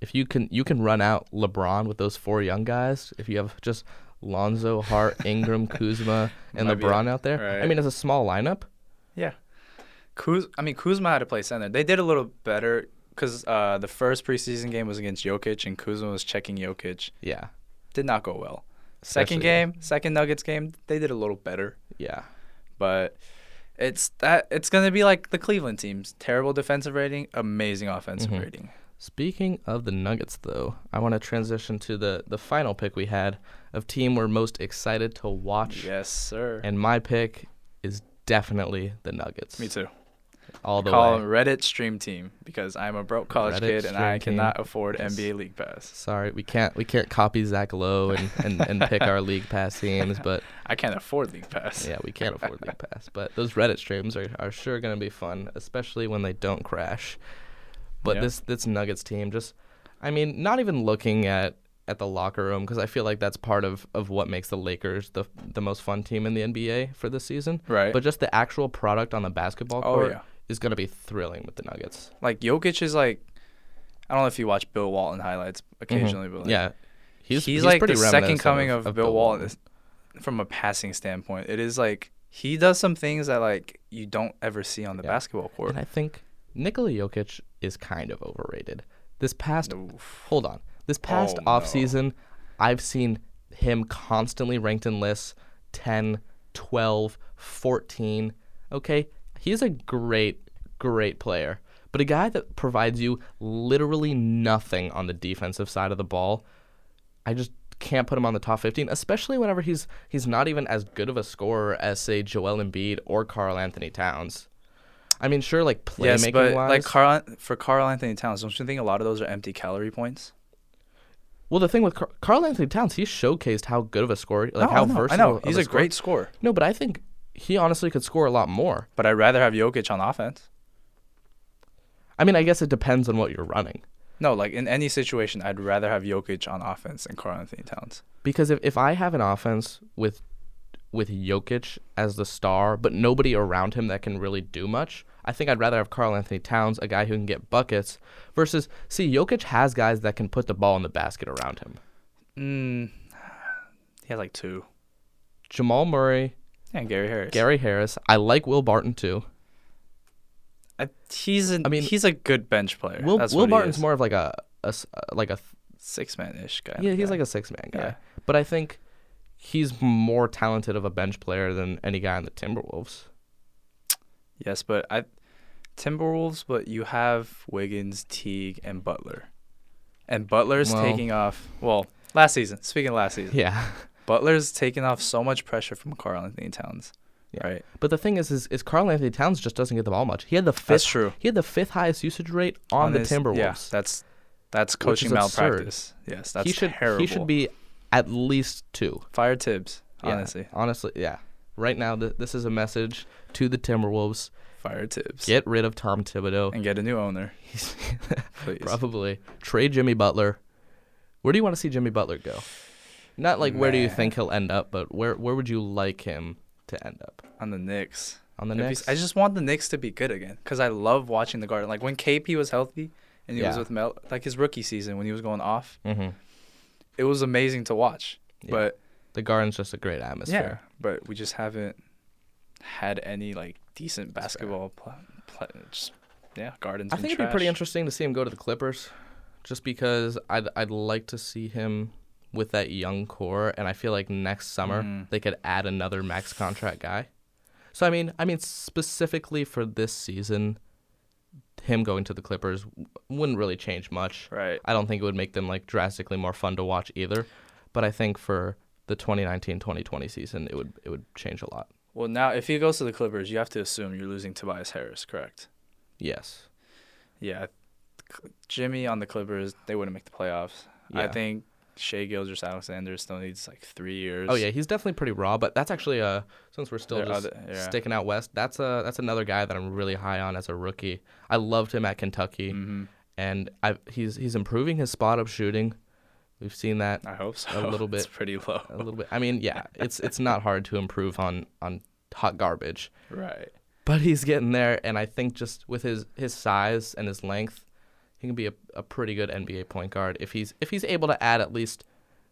S1: if you can you can run out LeBron with those four young guys, if you have just Lonzo, Hart, Ingram, Kuzma, and
S2: Might be
S1: LeBron out there. I
S2: right.
S1: mean, it's a small lineup.
S2: Yeah. Kuz, I mean Kuzma had to play center. They did a little better because uh, the first preseason game was against Jokic, and Kuzma was checking Jokic.
S1: Yeah.
S2: Did not go well. Second
S1: Especially-
S2: game, second Nuggets game, they did a little better,
S1: Yeah.
S2: but it's that it's gonna be like the Cleveland teams: terrible defensive rating, amazing offensive
S1: Mhm.
S2: rating.
S1: Speaking of the Nuggets, though, I want to transition to the the final pick we had of team we're most excited to watch,
S2: Yes, sir.
S1: and my pick is definitely the Nuggets.
S2: Me too.
S1: All the
S2: Call
S1: way.
S2: them Reddit Stream Team because I'm a broke college
S1: Reddit
S2: kid and I
S1: Stream Team.
S2: cannot afford
S1: Yes.
S2: NBA League Pass.
S1: Sorry, we can't we can't copy Zach Lowe and, and, and pick our league pass teams, but
S2: I can't afford League Pass.
S1: yeah, we can't afford league pass. But those Reddit streams are, are sure gonna be fun, especially when they don't crash. But
S2: Yeah.
S1: this this Nuggets team just, I mean, not even looking at at the locker room because I feel like that's part of, of what makes the Lakers the the most fun team in the NBA for this season.
S2: Right.
S1: But just the actual product on the basketball
S2: Oh,
S1: court
S2: yeah.
S1: is gonna be thrilling with the Nuggets.
S2: Like Jokic is like, I don't know if you watch Bill Walton highlights occasionally, but like,
S1: yeah,
S2: he's, like the
S1: pretty
S2: second
S1: reminiscent
S2: coming of, Bill, Walton
S1: Walton.
S2: is- from a passing standpoint. It is like he does some things that like you don't ever see on the
S1: Yeah.
S2: basketball court.
S1: And I think Nikola Jokic is kind of overrated. This past
S2: Oof.
S1: hold on. This past
S2: Oh, no.
S1: offseason, I've seen him constantly ranked in lists 10, 12, 14. Okay? He's a great great player, but a guy that provides you literally nothing on the defensive side of the ball. I just can't put him on the top 15, especially whenever he's he's not even as good of a scorer as say Joel Embiid or Carl Anthony Towns. I mean, sure, like playmaking
S2: Yes, but
S1: wise.
S2: like Carl for Carl Anthony Towns, don't you think a lot of those are empty calorie points?
S1: well, the thing with Car- Carl Anthony Towns, he showcased how good of a scorer, like
S2: No,
S1: how
S2: I know,
S1: versatile.
S2: I know
S1: of
S2: he's a
S1: scorer-
S2: great scorer,
S1: No, but I think he honestly could score a lot more.
S2: but I'd rather have Jokic on offense.
S1: I mean, I guess it depends on what you're running.
S2: No, like in any situation, I'd rather have Jokic on offense than Carl Anthony Towns.
S1: Because if, if I have an offense with with Jokic as the star, but nobody around him that can really do much, I think I'd rather have Carl Anthony Towns, a guy who can get buckets, versus see Jokic has guys that can put the ball in the basket around him.
S2: Mm, he had like two.
S1: Jamal Murray,
S2: Yeah, Gary Harris.
S1: Gary Harris. I like Will Barton too.
S2: I, he's an,
S1: I mean-
S2: he's a good bench player.
S1: Will
S2: That's
S1: Will
S2: what he
S1: Barton's
S2: is.
S1: more of like a, a s- uh, like a th-
S2: six man ish guy.
S1: yeah, he's like a six man guy.
S2: Yeah.
S1: But I think he's more talented of a bench player than any guy on the Timberwolves.
S2: yes, but I Timberwolves, but you have Wiggins, Teague, and Butler, and Butler's
S1: Well-
S2: taking off. Well, last season. Speaking of last season,
S1: Yeah.
S2: Butler's taking off so much pressure from Carl Anthony Towns.
S1: Yeah.
S2: Right.
S1: But the thing is, is, is Carl Anthony Towns just doesn't get the ball much. He had the fifth.
S2: That's true.
S1: He had the fifth highest usage rate on, the
S2: his-
S1: Timberwolves.
S2: Yeah, that's that's coaching
S1: is absurd.
S2: malpractice. Yes, that's
S1: he should
S2: terrible.
S1: he should be at least two.
S2: fire Tibbs.
S1: Yeah,
S2: Honestly,
S1: honestly, yeah. Right now, th- this is a message to the Timberwolves:
S2: fire Tibbs
S1: get rid of Tom Thibodeau.
S2: and get a new owner,
S1: He's
S2: please.
S1: probably trade Jimmy Butler. Where do you want to see Jimmy Butler go? Not like where do you
S2: Man.
S1: think he'll end up, but where where would you like him to end up
S2: On the Knicks.
S1: on the
S2: If
S1: next?
S2: he's- I just want the Knicks to be good again because I love watching the Garden. Like when KP was healthy and he was
S1: Yeah.
S2: with Mel like his rookie season when he was going off.
S1: hmm
S2: It was amazing to watch,
S1: Yeah.
S2: but
S1: The Garden's just a great atmosphere.
S2: yeah, but we just haven't had any like decent
S1: That's fair.
S2: basketball. Pl- pl- just, yeah, gardens.
S1: I
S2: been
S1: think it'd be pretty
S2: trash.
S1: interesting to see him go to the Clippers, just because I'd I'd like to see him with that young core, and I feel like next summer
S2: Mhm.
S1: they could add another max contract guy. So I mean, I mean specifically for this season, him going to the Clippers w- wouldn't really change much.
S2: Right.
S1: I don't think it would make them like drastically more fun to watch either, but I think for the 2019-2020 season, it would it would change a lot.
S2: Well, now if he goes to the Clippers, you have to assume you're losing Tobias Harris, correct?
S1: Yes.
S2: Yeah. Cl- Jimmy on the Clippers, they wouldn't make the playoffs. I
S1: Yeah.
S2: think Shea Gilgis Alexander still needs like three years.
S1: Oh yeah, he's definitely pretty raw, but that's actually uh since we're still
S2: There are
S1: just
S2: other- yeah.
S1: sticking out west, that's a that's another guy that I'm really high on as a rookie. I loved him at Kentucky,
S2: hmm
S1: and I he's he's improving his spot up shooting. We've seen that
S2: I hope so.
S1: A little
S2: It's
S1: bit.
S2: pretty low.
S1: a little bit. I mean, yeah, it's it's not hard to improve on on hot garbage,
S2: Right.
S1: but he's getting there, and I think just with his his size and his length, he can be a, a pretty good NBA point guard if he's if he's able to add at least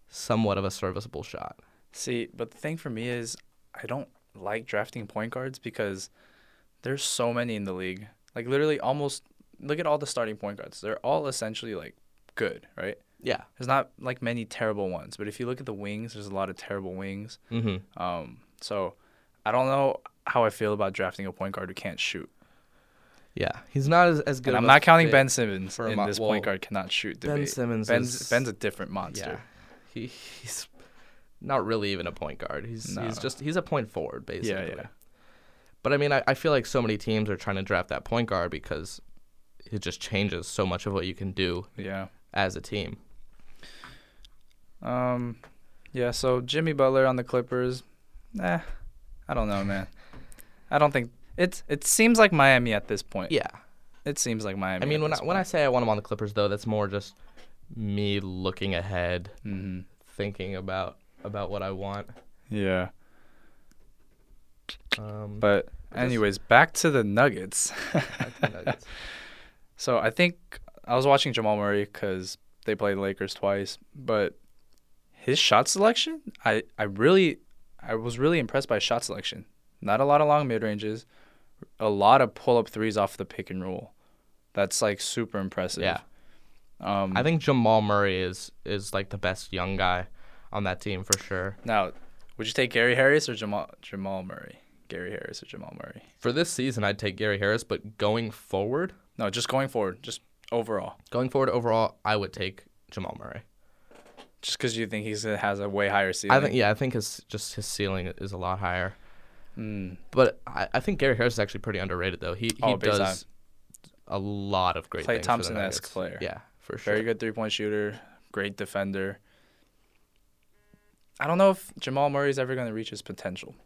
S1: somewhat of a serviceable shot.
S2: See, but the thing for me is I don't like drafting point guards because there's so many in the league. Like literally almost look at all the starting point guards. They're all essentially like good, right?
S1: Yeah.
S2: There's not like many terrible ones, but if you look at the wings, there's a lot of terrible wings.
S1: Mm-hmm.
S2: Um, so I don't know how I feel about drafting a point guard who can't shoot.
S1: Yeah, he's not as, as good.
S2: And I'm
S1: of a
S2: not counting
S1: fit.
S2: Ben Simmons
S1: for a
S2: in
S1: mo-
S2: this
S1: well,
S2: point guard cannot shoot
S1: Ben
S2: debate.
S1: Simmons
S2: Ben's,
S1: is-
S2: Ben's a different
S1: Yeah,
S2: monster.
S1: he, he's not really even a point guard. He's
S2: No.
S1: he's just he's a point forward
S2: Yeah,
S1: basically.
S2: yeah.
S1: But I mean, I, I feel like so many teams are trying to draft that point guard because it just changes so much of what you can do
S2: Yeah.
S1: as a team.
S2: Um, yeah. So Jimmy Butler on the Clippers, nah, I don't know, man. I don't think it's. It seems like Miami at this point.
S1: Yeah,
S2: It seems like Miami.
S1: I mean, when I, when I say I want him on the Clippers, though, that's more just me looking ahead,
S2: hmm
S1: thinking about about what I want.
S2: Yeah.
S1: Um,
S2: But
S1: But this-
S2: anyways, back to the Nuggets.
S1: back to the Nuggets.
S2: So I think I was watching Jamal Murray because they played the Lakers twice, but his shot selection, I, I really, I was really impressed by his shot selection. Not a lot of long mid ranges, a lot of pull up threes off the pick and roll. That's like super impressive.
S1: Yeah.
S2: Um,
S1: I think Jamal Murray is is like the best young guy on that team for sure.
S2: now, would you take Gary Harris or Jamal Jamal Murray? Gary Harris or Jamal Murray?
S1: For this season, I'd take Gary Harris, but going forward,
S2: No, just going forward, just overall,
S1: going forward overall, I would take Jamal Murray.
S2: just because you think he's has a way higher ceiling.
S1: I think yeah, I think his just his ceiling is a lot higher.
S2: Mm.
S1: But I, I think Gary Harris is actually pretty underrated though. He he
S2: Oh, big
S1: does a lot of great
S2: Klay
S1: things. for the
S2: Thompson-esque
S1: Nuggets.
S2: player.
S1: Yeah, for sure.
S2: Very good three point shooter, great defender. I don't know if Jamal Murray's ever going to reach his potential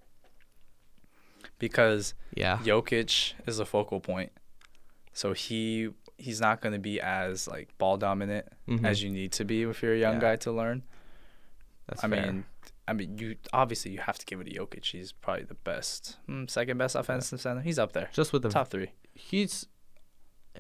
S2: because
S1: Yeah.
S2: Jokic is a focal point. So he he's not going to be as like ball dominant
S1: Mhm.
S2: as you need to be if you're a young
S1: Yeah.
S2: guy to learn.
S1: That's
S2: I
S1: fair.
S2: mean, I mean you obviously you have to give it to Jokic. He's probably the best, mm, second best offensive center. He's up there.
S1: just with the
S2: Top 3.
S1: he's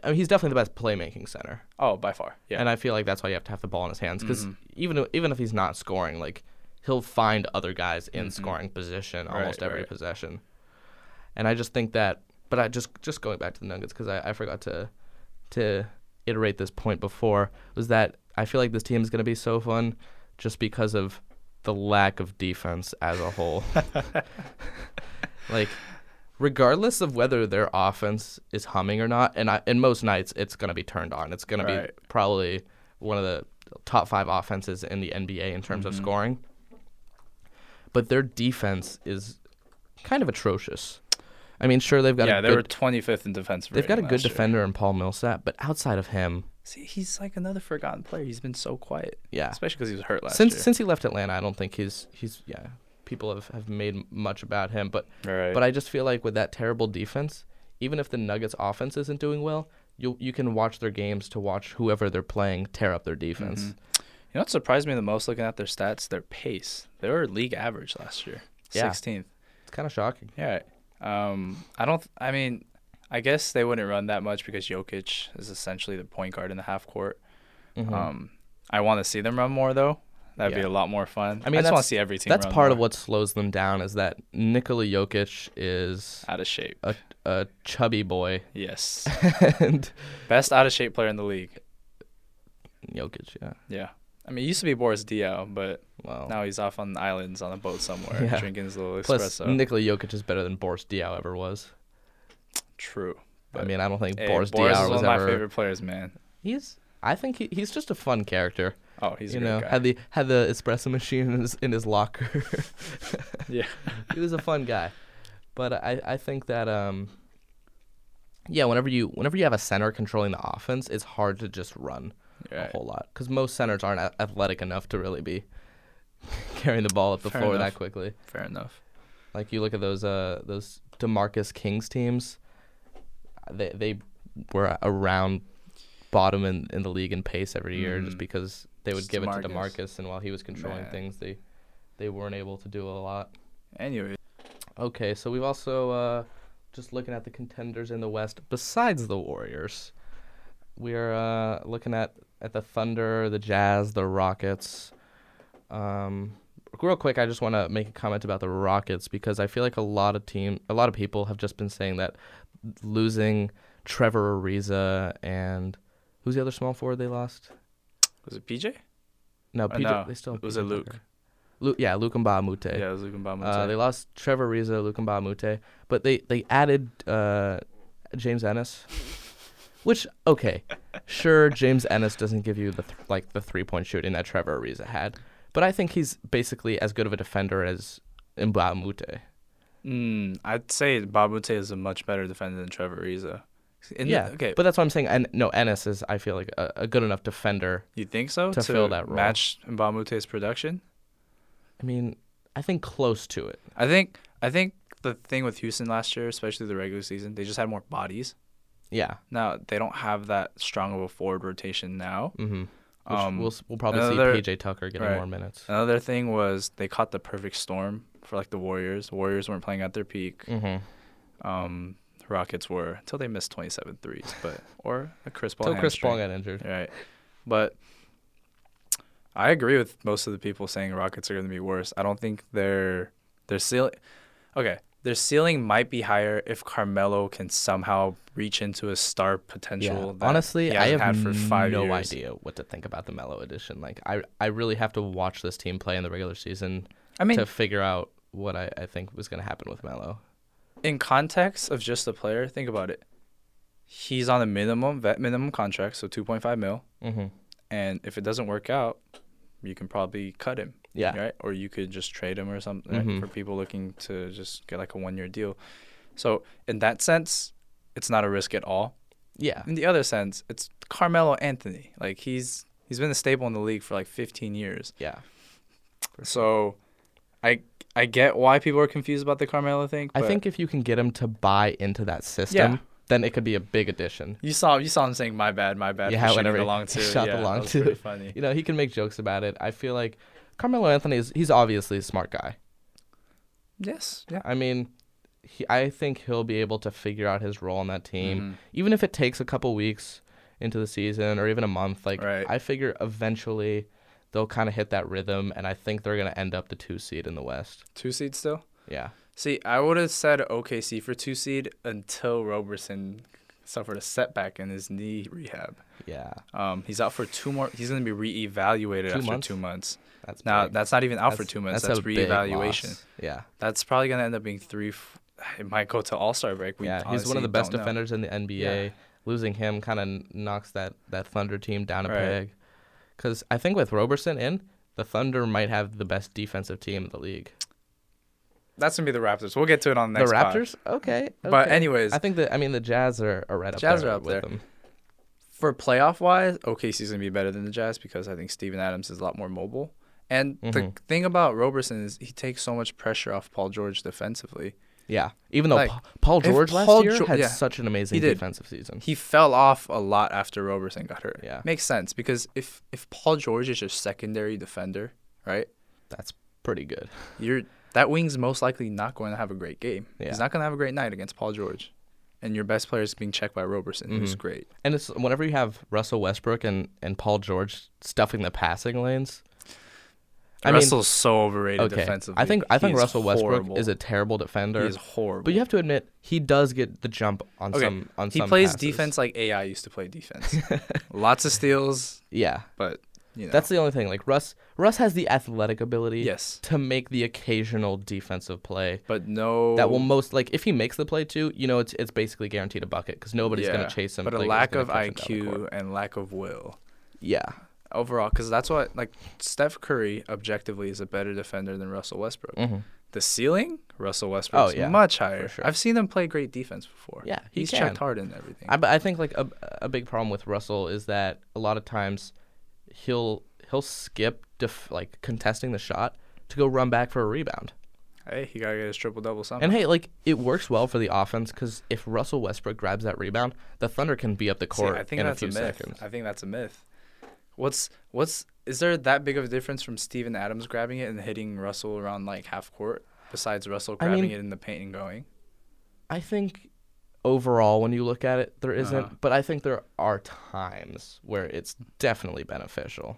S1: I mean, he's definitely the best playmaking center.
S2: Oh, by far. Yeah. Mm-hmm.
S1: And I feel like that's why you have to have the ball in his hands because even even if he's not scoring, like he'll find other guys in scoring position almost
S2: Mm-hmm. Right,
S1: every
S2: right.
S1: possession. And I just think that, but I just just going back to the Nuggets because I, I forgot to to iterate this point before was that I feel like this team is going to be so fun just because of the lack of defense as a whole. like regardless of whether their offense is humming or not, and I, and most nights it's going to be turned on. It's going to be
S2: Right.
S1: probably one of the top five offenses in the NBA in terms of
S2: Mm-hmm.
S1: scoring. But their defense is kind of atrocious. I mean, sure they've got
S2: yeah,
S1: a
S2: they
S1: good,
S2: were 25th in defense.
S1: they've got a
S2: rating
S1: good
S2: last year.
S1: defender in Paul Millsap, but outside of him,
S2: See, he's like another forgotten player. He's been so quiet.
S1: yeah.
S2: Especially because he was hurt last
S1: Since
S2: year.
S1: since he left Atlanta, I don't think he's he's yeah. People have, have made much about him, but
S2: right.
S1: But I just feel like with that terrible defense, even if the Nuggets offense isn't doing well, you you can watch their games to watch whoever they're playing tear up their defense.
S2: Mm-hmm. you know what surprised me the most looking at their stats? Their pace. They were league average last year.
S1: Yeah.
S2: 16th.
S1: It's kind of shocking.
S2: Yeah. Um, I don't, I mean, I guess they wouldn't run that much because Jokic is essentially the point guard in the half court.
S1: Mhm.
S2: Um, I want to see them run more though. That'd be a
S1: Yeah.
S2: lot more fun.
S1: I mean,
S2: I just want
S1: that's-
S2: to see every team.
S1: That's
S2: run
S1: part of
S2: more.
S1: what slows them down is that Nikola Jokic is
S2: out of shape.
S1: a, a chubby boy,
S2: Yes,
S1: and
S2: best out of shape player in the league.
S1: Jokic, yeah,
S2: Yeah, I mean, it used to be Boris Diaw, but
S1: well,
S2: now he's off on the islands on a boat somewhere
S1: Oh. Yeah.
S2: drinking his little
S1: plus
S2: espresso.
S1: Nikola Jokic is better than Boris Diaw ever was.
S2: True.
S1: I
S2: But-
S1: mean, I don't think
S2: Hey,
S1: Boris,
S2: Boris
S1: Diaw
S2: is one
S1: was
S2: of my
S1: ever.
S2: favorite players, man.
S1: He's, I think he, he's just a fun character.
S2: Oh, he's a
S1: you
S2: great
S1: know,
S2: guy.
S1: had the had the espresso machine in his in his locker.
S2: Yeah.
S1: he was a fun guy, but I I think that um. Yeah, whenever you whenever you have a center controlling the offense, it's hard to just run
S2: You're
S1: a
S2: right.
S1: whole lot because most centers aren't a- athletic enough to really be carrying the ball up the
S2: Fair
S1: floor
S2: enough.
S1: that quickly.
S2: Fair enough.
S1: Like you look at those uh those Demarcus Kings teams, they they were around bottom in, in the league in pace every year just
S2: Mhm.
S1: because they would
S2: Just
S1: give it to
S2: DeMarcus.
S1: Demarcus and while he was controlling
S2: Man.
S1: things they they weren't able to do a lot.
S2: Anyway,
S1: Okay, so we've also uh just looking at the contenders in the West besides the Warriors. We're uh looking at at the Thunder, the Jazz, the Rockets. Um, real quick, I just want to make a comment about the Rockets because I feel like a lot of team, a lot of people have just been saying that losing Trevor Ariza and who's the other small forward they lost?
S2: was it PJ?
S1: No,
S2: Uh,
S1: PJ.
S2: no,
S1: They still have
S2: was
S1: PJ
S2: it Luke?
S1: Tucker. Luke, yeah, Luke and Mbamute.
S2: Yeah, it was Luke Mbamute.
S1: Uh, they lost Trevor Ariza, Lukumba Mute, but they they added uh, James Ennis, which okay, sure James Ennis doesn't give you the th- like the three point shooting that Trevor Ariza had, but I think he's basically as good of a defender as Mba Mute.
S2: Mm, I'd say Babute is a much better defender than Trevor Ariza. In the-
S1: yeah,
S2: okay.
S1: but that's what I'm saying. And no, Ennis is I feel like a, a good enough defender.
S2: you think so?
S1: to fill that role.
S2: match Babute's production.
S1: I mean, I think close to it.
S2: I think. I think the thing with Houston last year, especially the regular season, they just had more bodies.
S1: Yeah.
S2: Now they don't have that strong of a forward rotation now.
S1: Mm-hmm.
S2: Um,
S1: we'll s- we'll probably
S2: another-
S1: see PJ Tucker getting
S2: right. Uh,
S1: more minutes.
S2: Another thing was they caught the perfect storm for like the Warriors. Warriors weren't playing at their peak.
S1: Mm-hmm.
S2: Um, Rockets were until they missed 27 threes, but or a Chris Paul.
S1: Until Chris Paul
S2: hamstring.
S1: got injured.
S2: Right. But I agree with most of the people saying Rockets are going to be worse. I don't think their their ceiling Okay, their ceiling might be higher if Carmelo can somehow reach into his star potential. that
S1: Honestly,
S2: he
S1: I have
S2: hasn't had for five
S1: no
S2: years.
S1: idea what to think about the Mellow Edition. Like, I, I really have to watch this team play in the regular season
S2: I mean,
S1: to figure out what I, I think was going to happen with Mellow.
S2: in context of just the player, think about it. He's on a minimum vet minimum contract, so 2.5 mil,
S1: Mm-hmm.
S2: and if it doesn't work out, you can probably cut him.
S1: Yeah.
S2: right? Or you could just trade him or something right?
S1: Mhm.
S2: for people looking to just get like a one year deal. So in that sense, it's not a risk at all.
S1: Yeah.
S2: In the other sense, it's Carmelo Anthony. Like he's he's been a staple in the league for like 15 years.
S1: Yeah.
S2: So I I get why people are confused about the Carmelo thing.
S1: I
S2: but
S1: think if you can get him to buy into that system,
S2: Yeah.
S1: then it could be a big addition.
S2: you saw you saw him saying my bad, my bad.
S1: Yeah,
S2: for shooting
S1: whenever
S2: the
S1: he-
S2: long
S1: he
S2: two.
S1: shot the
S2: yeah,
S1: long
S2: that was pretty
S1: two.
S2: funny.
S1: You know, he can make jokes about it. I feel like Carmelo Anthony is he's obviously a smart guy.
S2: Yes. Yeah.
S1: I mean, he, I think he'll be able to figure out his role on that team.
S2: Mhm.
S1: even if it takes a couple weeks into the season or even a month, like
S2: Right.
S1: I figure eventually they'll kind of hit that rhythm, and I think they're gonna end up the two seed in the West.
S2: Two seed still.
S1: Yeah,
S2: See, I would have said OKC for two seed until Roberson suffered a setback in his knee rehab.
S1: yeah,
S2: Um, he's out for two more. He's going to be reevaluated
S1: Two
S2: after
S1: months?
S2: two months.
S1: that's
S2: Now,
S1: big.
S2: that's not even out for
S1: That's-
S2: two months. That's,
S1: a big
S2: reevaluation.
S1: loss. Yeah,
S2: That's probably going to end up being three. F- it might go to All Star break. We
S1: yeah, he's one of
S2: honestly
S1: the best
S2: don't know.
S1: defenders in the NBA. Losing him kind of knocks that that Thunder team down a
S2: Right.
S1: peg, because I think with Roberson in, the Thunder might have the best defensive team in the league.
S2: That's going to be the Raptors. We'll get to it on the next
S1: the
S2: pod.
S1: Raptors, okay,
S2: But
S1: okay.
S2: anyways,
S1: I think that I mean the Jazz are, are right up
S2: Jazz
S1: there
S2: are up
S1: with
S2: there.
S1: them.
S2: for playoff wise, OKC's gonna be better than the Jazz because I think Steven Adams is a lot more mobile. And the
S1: Mhm.
S2: thing about Roberson is he takes so much pressure off Paul George defensively.
S1: Yeah, even though
S2: Like,
S1: Pa- Paul
S2: if
S1: George last
S2: Paul
S1: year
S2: Geor-
S1: had
S2: yeah,
S1: such an amazing
S2: did.
S1: defensive season.
S2: He fell off a lot after Roberson got hurt.
S1: Yeah.
S2: Makes sense because if if Paul George is your secondary defender, right?
S1: That's pretty good.
S2: You're that wing's most likely not going to have a great game.
S1: Yeah.
S2: He's not going to have a great night against Paul George. and your best player is being checked by Roberson, who's
S1: Mhm.
S2: great.
S1: And it's whenever you have Russell Westbrook and, and Paul George stuffing the passing lanes. I mean,
S2: Russell's so overrated
S1: okay.
S2: defensively.
S1: I think I think
S2: He's
S1: Russell Westbrook
S2: horrible.
S1: is a terrible defender.
S2: He is horrible.
S1: But you have to admit he does get the jump on
S2: Okay.
S1: some on
S2: he
S1: some
S2: plays
S1: passes.
S2: defense like AI used to play defense. Lots of steals,
S1: Yeah.
S2: but you know.
S1: That's the only thing. Like Russ Russ has the athletic ability
S2: yes,
S1: to make the occasional defensive play.
S2: but no
S1: That will most like if he makes the play too, you know it's it's basically guaranteed a bucket because nobody's
S2: yeah,
S1: gonna chase him.
S2: But a
S1: like, he's
S2: lack
S1: gonna
S2: of
S1: catch him down the court.
S2: IQ and lack of will
S1: Yeah,
S2: overall, because that's what like Steph Curry objectively is a better defender than Russell Westbrook.
S1: hmm
S2: The ceiling, Russell Westbrook's
S1: Oh, yeah,
S2: much higher.
S1: sure.
S2: I've seen him play great defense before.
S1: Yeah, he
S2: he's
S1: can.
S2: checked hard and everything.
S1: I, but I think like a a big problem with Russell is that a lot of times he'll he'll skip def- like contesting the shot to go run back for a rebound.
S2: hey, he gotta get his triple double somehow.
S1: And hey, like it works well for the offense because if Russell Westbrook grabs that rebound, the Thunder can be up the
S2: See,
S1: court
S2: I think
S1: in a
S2: that's a,
S1: few
S2: myth.
S1: seconds.
S2: I think that's a myth. What's what's is there that big of a difference from Steven Adams grabbing it and hitting Russell around like half court? Besides Russell
S1: I
S2: grabbing
S1: mean-
S2: it in the paint and going,
S1: I think overall, when you look at it, there isn't-
S2: Uh-huh.
S1: but I think there are times where it's definitely beneficial.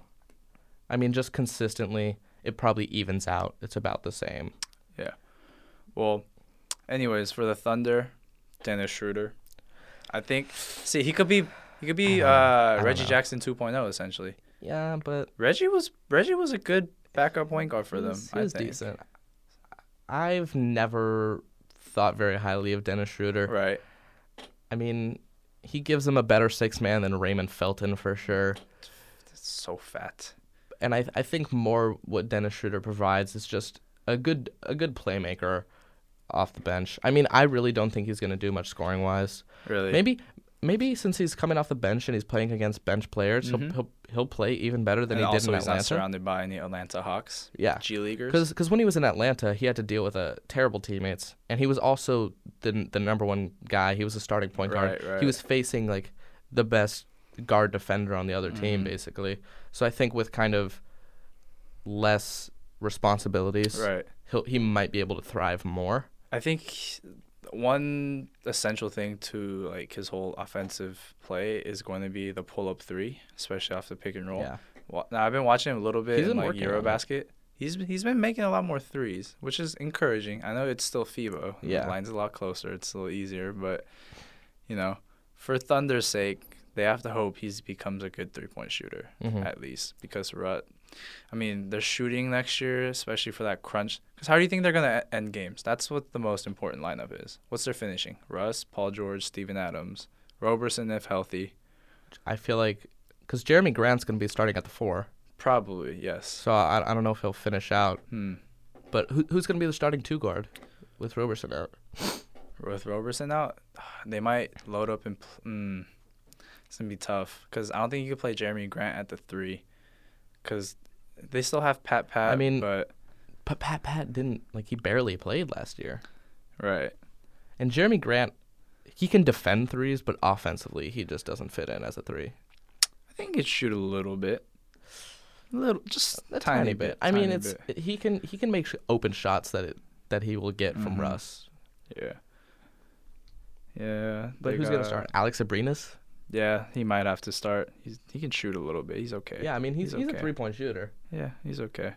S1: I mean, just consistently, it probably evens out. It's about the same.
S2: well, anyways, for the Thunder, Dennis Schroeder, I think. See, he could be he could be uh,
S1: don't
S2: Reggie
S1: know.
S2: Jackson 2.0 essentially.
S1: Yeah, but
S2: Reggie was Reggie was a good backup point guard for
S1: he
S2: them.
S1: was, he
S2: I
S1: was
S2: think.
S1: decent. I've never thought very highly of Dennis Schroeder.
S2: Right.
S1: I mean, he gives them a better six man than Raymond Felton for sure.
S2: That's so fat.
S1: and I I think more what Dennis Schroeder provides is just a good a good playmaker off the bench. I mean, I really don't think he's going to do much scoring wise.
S2: Really.
S1: Maybe maybe since he's coming off the bench and he's playing against bench players, he'll, he'll he'll play even better than
S2: Mm-hmm. and
S1: he did
S2: also
S1: in
S2: he's not
S1: Atlanta.
S2: surrounded by any Atlanta Hawks.
S1: Yeah.
S2: G leaguers.
S1: Because when he was in Atlanta, he had to deal with uh, terrible teammates, and he was also the the number one guy. He was a starting point guard.
S2: Right, right.
S1: He was facing like the best guard defender on the other team,
S2: Mm-hmm.
S1: basically. So I think with kind of less responsibilities,
S2: Right.
S1: he'll, he might be able to thrive more.
S2: I think one essential thing to like his whole offensive play is going to be the pull up three, especially off the pick and roll.
S1: Yeah.
S2: Well, now I've been watching him a little bit
S1: He's
S2: in
S1: been
S2: like
S1: working on it.
S2: EuroBasket. He's been- he's been making a lot more threes, which is encouraging. I know it's still FIBA.
S1: Yeah.
S2: The line's a lot closer. It's a little easier, but you know, for Thunder's sake, they have to hope he's becomes a good three point shooter
S1: Mhm.
S2: at least because Rut. I mean, they're shooting next year, especially for that crunch. Because how do you think they're gonna e- end games? That's what the most important lineup is. What's their finishing? Russ, Paul George, Steven Adams, Roberson if healthy.
S1: I feel like because Jeremy Grant's going to be starting at the four,
S2: Probably yes.
S1: so I, I don't know if he'll finish out.
S2: Hmm.
S1: But who, who's going to be the starting two guard with Roberson out?
S2: with Roberson out, they might load up and. Pl- mm, it's gonna be tough because I don't think you could play Jeremy Grant at the three, because they still have Pat Pat.
S1: I mean-
S2: but
S1: But Pat Pat didn't like he barely played last year.
S2: right,
S1: And Jeremy Grant, he can defend threes, but offensively, he just doesn't fit in as a three.
S2: I think it shoot a little bit, a little just
S1: A tiny, bit. I mean,
S2: tiny
S1: it's
S2: bit.
S1: he can he can make sh- open shots that it that he will get from
S2: Mhm.
S1: Russ.
S2: yeah, yeah.
S1: But
S2: they
S1: who's gonna
S2: got-
S1: start? Alex Abrinas?
S2: Yeah, he might have to start. He's he can shoot a little bit. He's okay.
S1: Yeah, I mean he's he's,
S2: okay.
S1: a three point shooter.
S2: Yeah, he's okay.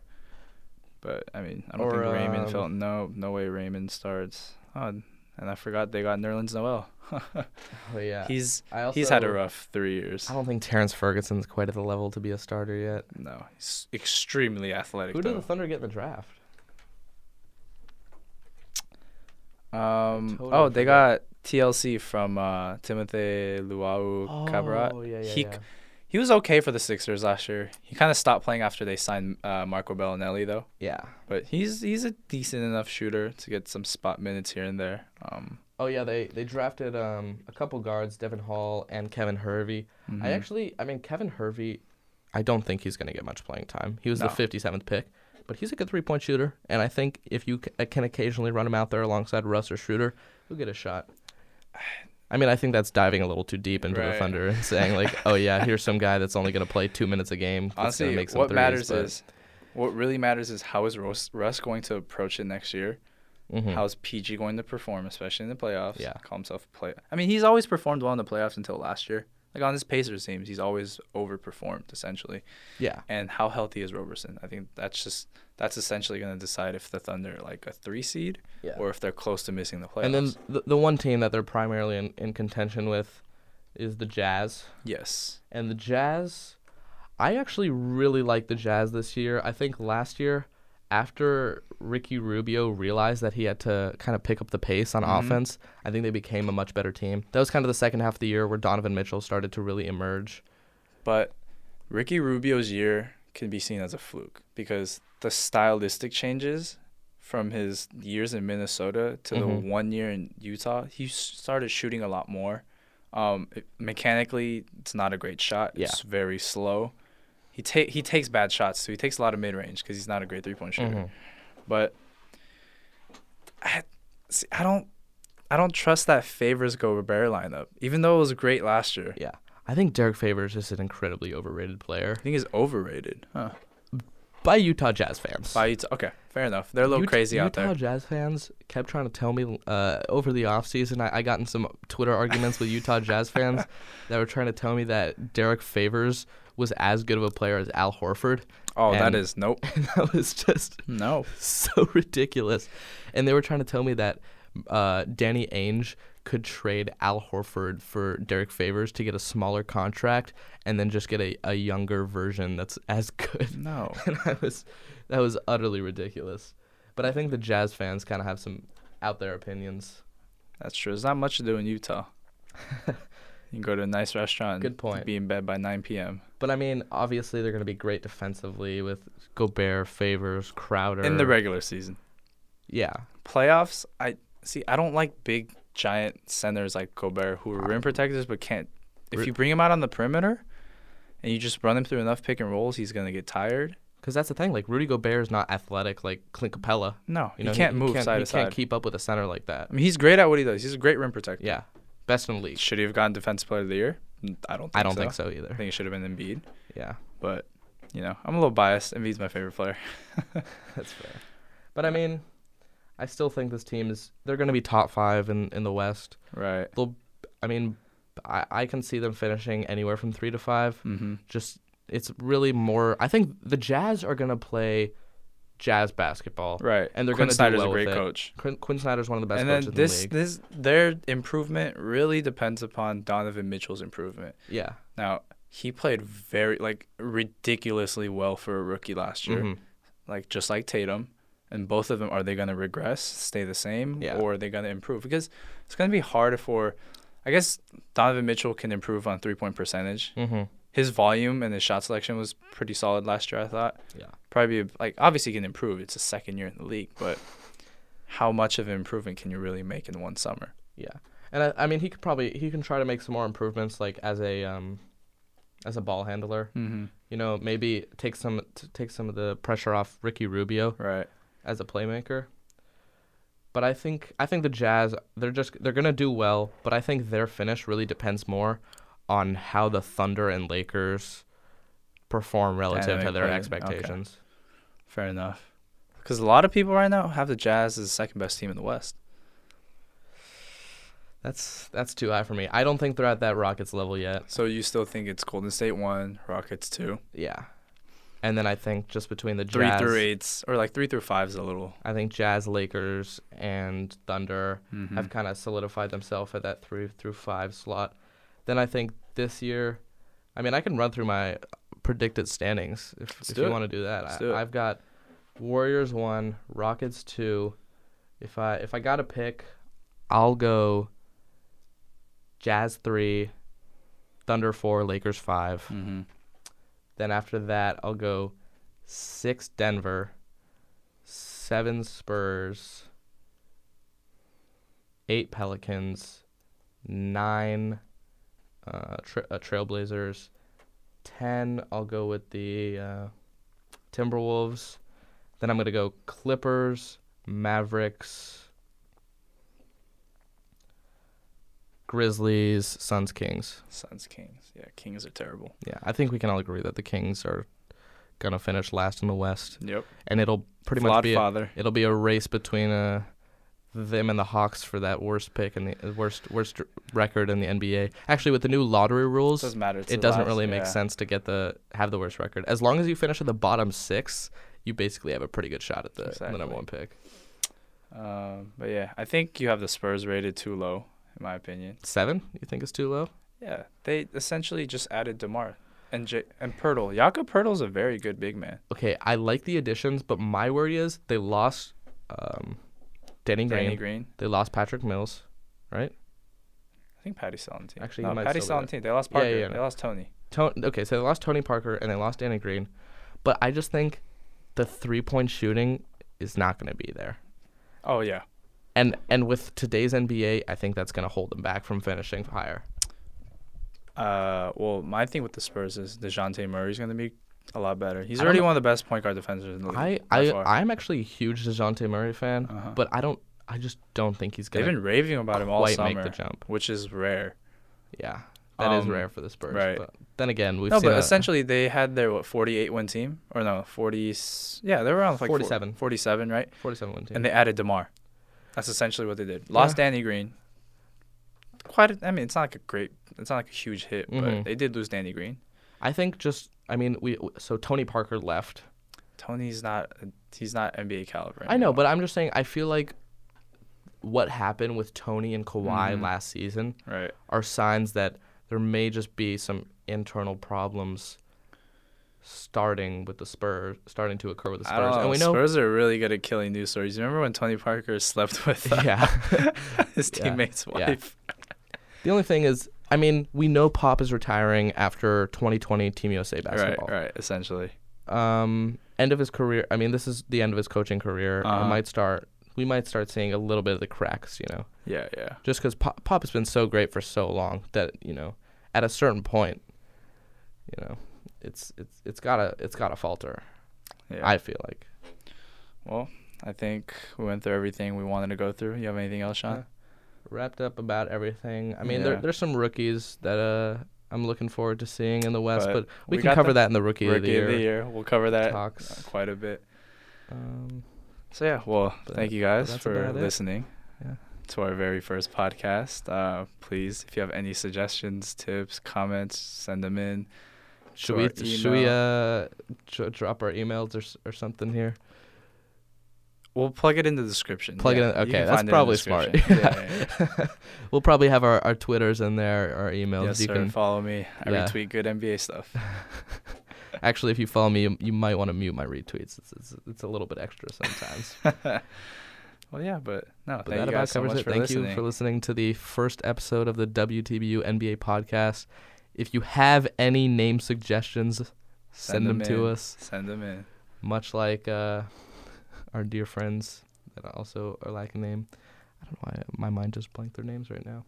S2: But I mean, I don't
S1: Or,
S2: think Raymond
S1: um,
S2: felt no no way Raymond starts. Oh, and I forgot they got Nerlens Noel.
S1: Oh yeah,
S2: he's
S1: I
S2: he's had a
S1: also-
S2: rough three years.
S1: I don't think Terrence Ferguson's quite at the level to be a starter yet.
S2: No, he's extremely athletic.
S1: Who did the
S2: though.
S1: Thunder get in the draft?
S2: um
S1: totally
S2: oh they got
S1: forgot.
S2: TLC from uh, Timothy Luau Cabarat.
S1: Oh yeah, yeah,
S2: he
S1: yeah.
S2: he was okay for the Sixers last year. He kind of stopped playing after they signed uh, Marco Bellinelli though.
S1: yeah.
S2: But he's he's a decent enough shooter to get some spot minutes here and there. Um,
S1: Oh yeah, they they drafted um a couple guards, Devin Hall and Kevin Hervey. I
S2: mhm.
S1: actually, I mean, Kevin Hervey, I don't think he's going to get much playing time. He was
S2: No.
S1: the 57th pick, but he's a good three point shooter. And I think if you c- uh, can occasionally run him out there alongside Russ or Schroeder, he'll get a shot. I mean, I think that's diving a little too deep into
S2: Right.
S1: the Thunder and saying, like, oh, yeah, here's some guy that's only going to play two minutes a game. that's
S2: Honestly,
S1: gonna make some
S2: what
S1: threes,
S2: matters
S1: but-
S2: is what really matters is how is Russ, Russ going to approach it next year,
S1: Mhm.
S2: How's PG going to perform, especially in the playoffs?
S1: Yeah.
S2: Call himself a play. I mean, he's always performed well in the playoffs until last year. Like on his Pacers teams, he's always overperformed essentially.
S1: yeah.
S2: And how healthy is Roberson? I think that's just that's essentially going to decide if the Thunder are like a three seed
S1: Yeah.
S2: or if they're close to missing the playoffs.
S1: And then the, the one team that they're primarily in, in contention with is the Jazz.
S2: yes,
S1: And the Jazz, I actually really like the Jazz this year. I think last year, after Ricky Rubio realized that he had to kind of pick up the pace on offense, I think they became a much better team. That was kind of the second half of the year where Donovan Mitchell started to really emerge.
S2: but Ricky Rubio's year can be seen as a fluke because the stylistic changes from his years in Minnesota to
S1: Mhm.
S2: the one year in Utah, he s- started shooting a lot more. Um, it- mechanically, it's not a great shot.
S1: Yeah.
S2: It's very slow. He ta- he takes bad shots too. He takes a lot of mid range because he's not a great three point shooter.
S1: Mhm.
S2: But I, see, I don't I don't trust that favors Gobert lineup, even though it was great last year.
S1: Yeah. I think Derek Favors is an incredibly overrated player
S2: I think it's overrated. Huh.
S1: by Utah Jazz fans.
S2: By Utah. Okay, fair enough. They're a little
S1: Ut-
S2: crazy
S1: Utah
S2: out there.
S1: Jazz fans kept trying to tell me uh, over the offseason. I, I got in some Twitter arguments with Utah Jazz fans that were trying to tell me that Derek Favors was as good of a player as Al Horford.
S2: Oh, that
S1: and-
S2: is nope.
S1: And that was just
S2: No.
S1: so ridiculous. And they were trying to tell me that uh, Danny Ainge could trade Al Horford for Derek Favors to get a smaller contract and then just get a, a younger version that's as good
S2: No.
S1: and I was that was utterly ridiculous. But I think the Jazz fans kind of have some out there opinions.
S2: That's true. There's not much to do in Utah. You can go to a nice restaurant.
S1: Good point.
S2: Be in bed by 9 p.m.
S1: But I mean, obviously they're going to be great defensively with Gobert, Favors, Crowder.
S2: In the regular season.
S1: yeah,
S2: Playoffs, I see. I don't like big, giant centers like Gobert who are rim protectors but can't. If
S1: Ri-
S2: you bring him out on the perimeter, and you just run him through enough pick and rolls, he's gonna get tired.
S1: because that's the thing. Like Rudy Gobert is not athletic like Clint Capella.
S2: No,
S1: You know,
S2: he can't move
S1: can't,
S2: side
S1: he
S2: to side.
S1: can't keep up with a center like that.
S2: I mean, he's great at what he does. He's a great rim protector.
S1: Yeah, best in the league.
S2: Should he have gotten Defensive Player of the Year? N- I don't. Think
S1: I don't
S2: so.
S1: think so
S2: I
S1: either.
S2: think it should have been Embiid,
S1: Yeah,
S2: but you know, I'm a little biased. Embiid's my favorite player.
S1: that's fair. But I mean, I still think this team is they're going to be top five in in the West.
S2: Right.
S1: they'll i mean I, I can see them finishing anywhere from three to five
S2: Mm-hmm.
S1: just it's really more i think the jazz are going to play jazz basketball
S2: Right.
S1: And they're
S2: Quinn
S1: gonna do
S2: Snyder's
S1: well
S2: a
S1: with
S2: great
S1: it.
S2: coach.
S1: Quinn, Quinn snyder's one of the best
S2: and
S1: coaches
S2: then this,
S1: in the league
S2: this, their improvement really depends upon Donovan Mitchell's improvement.
S1: yeah
S2: Now he played very, like, ridiculously well for a rookie last year,
S1: Mhm.
S2: like just like Tatum. And both of them, are they going to regress, stay the same,
S1: Yeah.
S2: or are they going to improve? Because it's going to be hard for, I guess Donovan Mitchell can improve on three point percentage.
S1: Mhm.
S2: His volume and his shot selection was pretty solid last year. I thought.
S1: yeah
S2: probably be- like obviously you can improve. It's a second year in the league, but how much of an improvement can you really make in one summer?
S1: yeah and I, I mean he could probably he can try to make some more improvements like as a um as a ball handler
S2: Mm-hmm.
S1: you know maybe take some t- take some of the pressure off ricky rubio
S2: Right.
S1: as a playmaker. But I think I think the Jazz they're just they're gonna do well, but I think their finish really depends more on how the Thunder and Lakers perform relative to
S2: Dynamic
S1: their
S2: play, okay.
S1: expectations.
S2: Fair enough. Because a lot of people right now have the Jazz as the second best team in the West.
S1: That's that's too high for me. I don't think they're at that Rockets level yet.
S2: So you still think it's Golden State one, Rockets two,
S1: Yeah. And then I think just between the
S2: three
S1: Jazz,
S2: through eights, or like three through five is a little.
S1: I think Jazz, Lakers, and Thunder
S2: Mm-hmm.
S1: have kind of solidified themselves at that three through five slot. Then I think this year, I mean, I can run through my predicted standings if, if
S2: do
S1: you
S2: it.
S1: want to do that.
S2: Let's
S1: I,
S2: do it.
S1: I've got Warriors one, Rockets two. If I if I got to pick, I'll go Jazz three, Thunder four, Lakers five.
S2: Mm-hmm.
S1: Then after that, I'll go six Denver, seven Spurs, eight Pelicans, nine uh, tra- uh, Trailblazers, ten. I'll go with the uh, Timberwolves. Then I'm gonna go Clippers, Mavericks, Grizzlies, Suns, Kings.
S2: Suns, Kings. Yeah, Kings are terrible.
S1: Yeah, I think we can all agree that the Kings are gonna finish last in the West,
S2: Yep.
S1: and it'll pretty much
S2: Flawed
S1: be a,
S2: father.
S1: it'll be a race between a them and the Hawks for that worst pick and the uh, worst worst record in the NBA. Actually, with the new lottery rules,
S2: doesn't matter. It's
S1: it
S2: the
S1: doesn't
S2: last-
S1: really make
S2: yeah.
S1: sense to get the have the worst record. As long as you finish at the bottom six, you basically have a pretty good shot at the, the
S2: Exactly.
S1: number one pick.
S2: Um, but yeah, I think you have the Spurs rated too low, in my opinion.
S1: Seven, you think is too low?
S2: Yeah, they essentially just added Demar and J- and Pirtle. Jakob Pirtle's a very good big man.
S1: Okay, I like the additions, but my worry is they lost um, Danny Green.
S2: Danny Green.
S1: They lost Patrick Mills, right?
S2: I think Patty Salantin.
S1: Actually, he
S2: no,
S1: might
S2: Patty
S1: still be
S2: Salantin. They lost
S1: Yeah,
S2: Parker.
S1: yeah, yeah.
S2: They lost Tony.
S1: Ton- okay, so they lost Tony Parker and they lost Danny Green, but I just think the three point shooting is not going to be there.
S2: Oh yeah,
S1: And and with today's NBA, I think that's going to hold them back from finishing higher.
S2: Uh, well, my thing with the Spurs is Dejounte Murray's going to be a lot better. He's
S1: I don't
S2: already
S1: know-
S2: one of the best point guard defenders in the league.
S1: I
S2: Mm-hmm. by
S1: I
S2: far.
S1: I'm actually a huge Dejounte Murray fan,
S2: Uh-huh.
S1: but I don't. I just don't think he's
S2: They've
S1: going to
S2: been raving about him all
S1: quite
S2: summer,
S1: make the jump.
S2: which is rare.
S1: Yeah, that is
S2: Um,
S1: rare for the Spurs.
S2: right.
S1: But then again, we've
S2: no,
S1: seen
S2: but
S1: a-
S2: essentially they had their what 48 win team or no 40. s- Yeah, they were around like four-
S1: 47.
S2: 47, right?
S1: 47 win team.
S2: And they added Demar. That's essentially what they did. Lost Danny Green. Quite. A, I mean, it's not like a great. It's not like a huge hit,
S1: Mhm.
S2: but they did lose Danny Green.
S1: I think just I mean we so Tony Parker left.
S2: Tony's not. He's not NBA caliber.
S1: I know,
S2: anymore.
S1: but I'm just saying I feel like what happened with Tony and Kawhi
S2: Mhm.
S1: last season
S2: right.
S1: are signs that there may just be some internal problems starting with the Spurs starting to occur with the
S2: I don't
S1: Spurs.
S2: know.
S1: And we know
S2: Spurs are really good at killing news stories. You remember when Tony Parker slept with uh,
S1: yeah.
S2: his
S1: Yeah.
S2: teammate's
S1: Yeah.
S2: wife?
S1: the only thing is I mean, we know Pop is retiring after 2020 Team USA basketball.
S2: Right, right, essentially.
S1: um, end of his career. I mean, this is the end of his coaching career. I
S2: Uh-huh.
S1: might start. We might start seeing a little bit of the cracks, you know,
S2: Yeah, yeah.
S1: just because Pop, Pop has been so great for so long that you know, at a certain point, you know, it's it's it's gotta it's gotta falter.
S2: yeah.
S1: I feel like.
S2: well, I think we went through everything we wanted to go through. You have anything else, Sean?
S1: Uh, Wrapped up about everything. I mean, there,
S2: Yeah.
S1: there's some rookies that uh, I'm looking forward to seeing in the West, but,
S2: But
S1: we,
S2: we
S1: can
S2: got
S1: cover
S2: the
S1: that in the rookie, of the
S2: Rookie
S1: year,
S2: of the year. We'll cover that uh,
S1: talks.
S2: quite a bit.
S1: Um,
S2: So, yeah, well,
S1: But-
S2: thank you guys
S1: that's
S2: for
S1: about it.
S2: listening
S1: Yeah.
S2: to our very first podcast. Uh, please, if you have any suggestions, tips, comments, send them in. to
S1: should
S2: our
S1: we should we
S2: email.
S1: uh, dr- drop our emails or s- or something here?
S2: We'll plug it in the description.
S1: Plug it in-
S2: you can
S1: okay, that's
S2: find it in the
S1: probably smart.
S2: description. Yeah, yeah, yeah.
S1: we'll probably have our, our Twitters in there, our emails.
S2: Yes,
S1: you
S2: sir.
S1: can
S2: Follow me. I
S1: Yeah.
S2: retweet good NBA stuff.
S1: actually, if you follow me, you, you might want to mute my retweets. It's, it's, it's a little bit extra sometimes.
S2: well, yeah, but no, thank
S1: but that
S2: you
S1: about
S2: guys so
S1: covers
S2: much
S1: it.
S2: for
S1: Thank
S2: listening.
S1: you for listening to the first episode of the WTBU NBA podcast. If you have any name suggestions, send, them, to
S2: in.
S1: us.
S2: Send them in.
S1: Much like uh, our dear friends that also are lacking name. I don't know why my mind just blanked their names right now.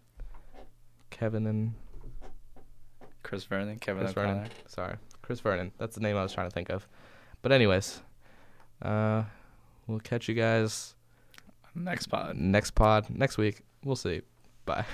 S1: Kevin and
S2: Chris Vernon, Kevin
S1: Chris
S2: O'Connor.
S1: Vernon. Sorry, Chris Vernon. That's the name I was trying to think of. But anyways, uh, we'll catch you guys uh,
S2: Next pod.
S1: next pod next week. We'll see. Bye.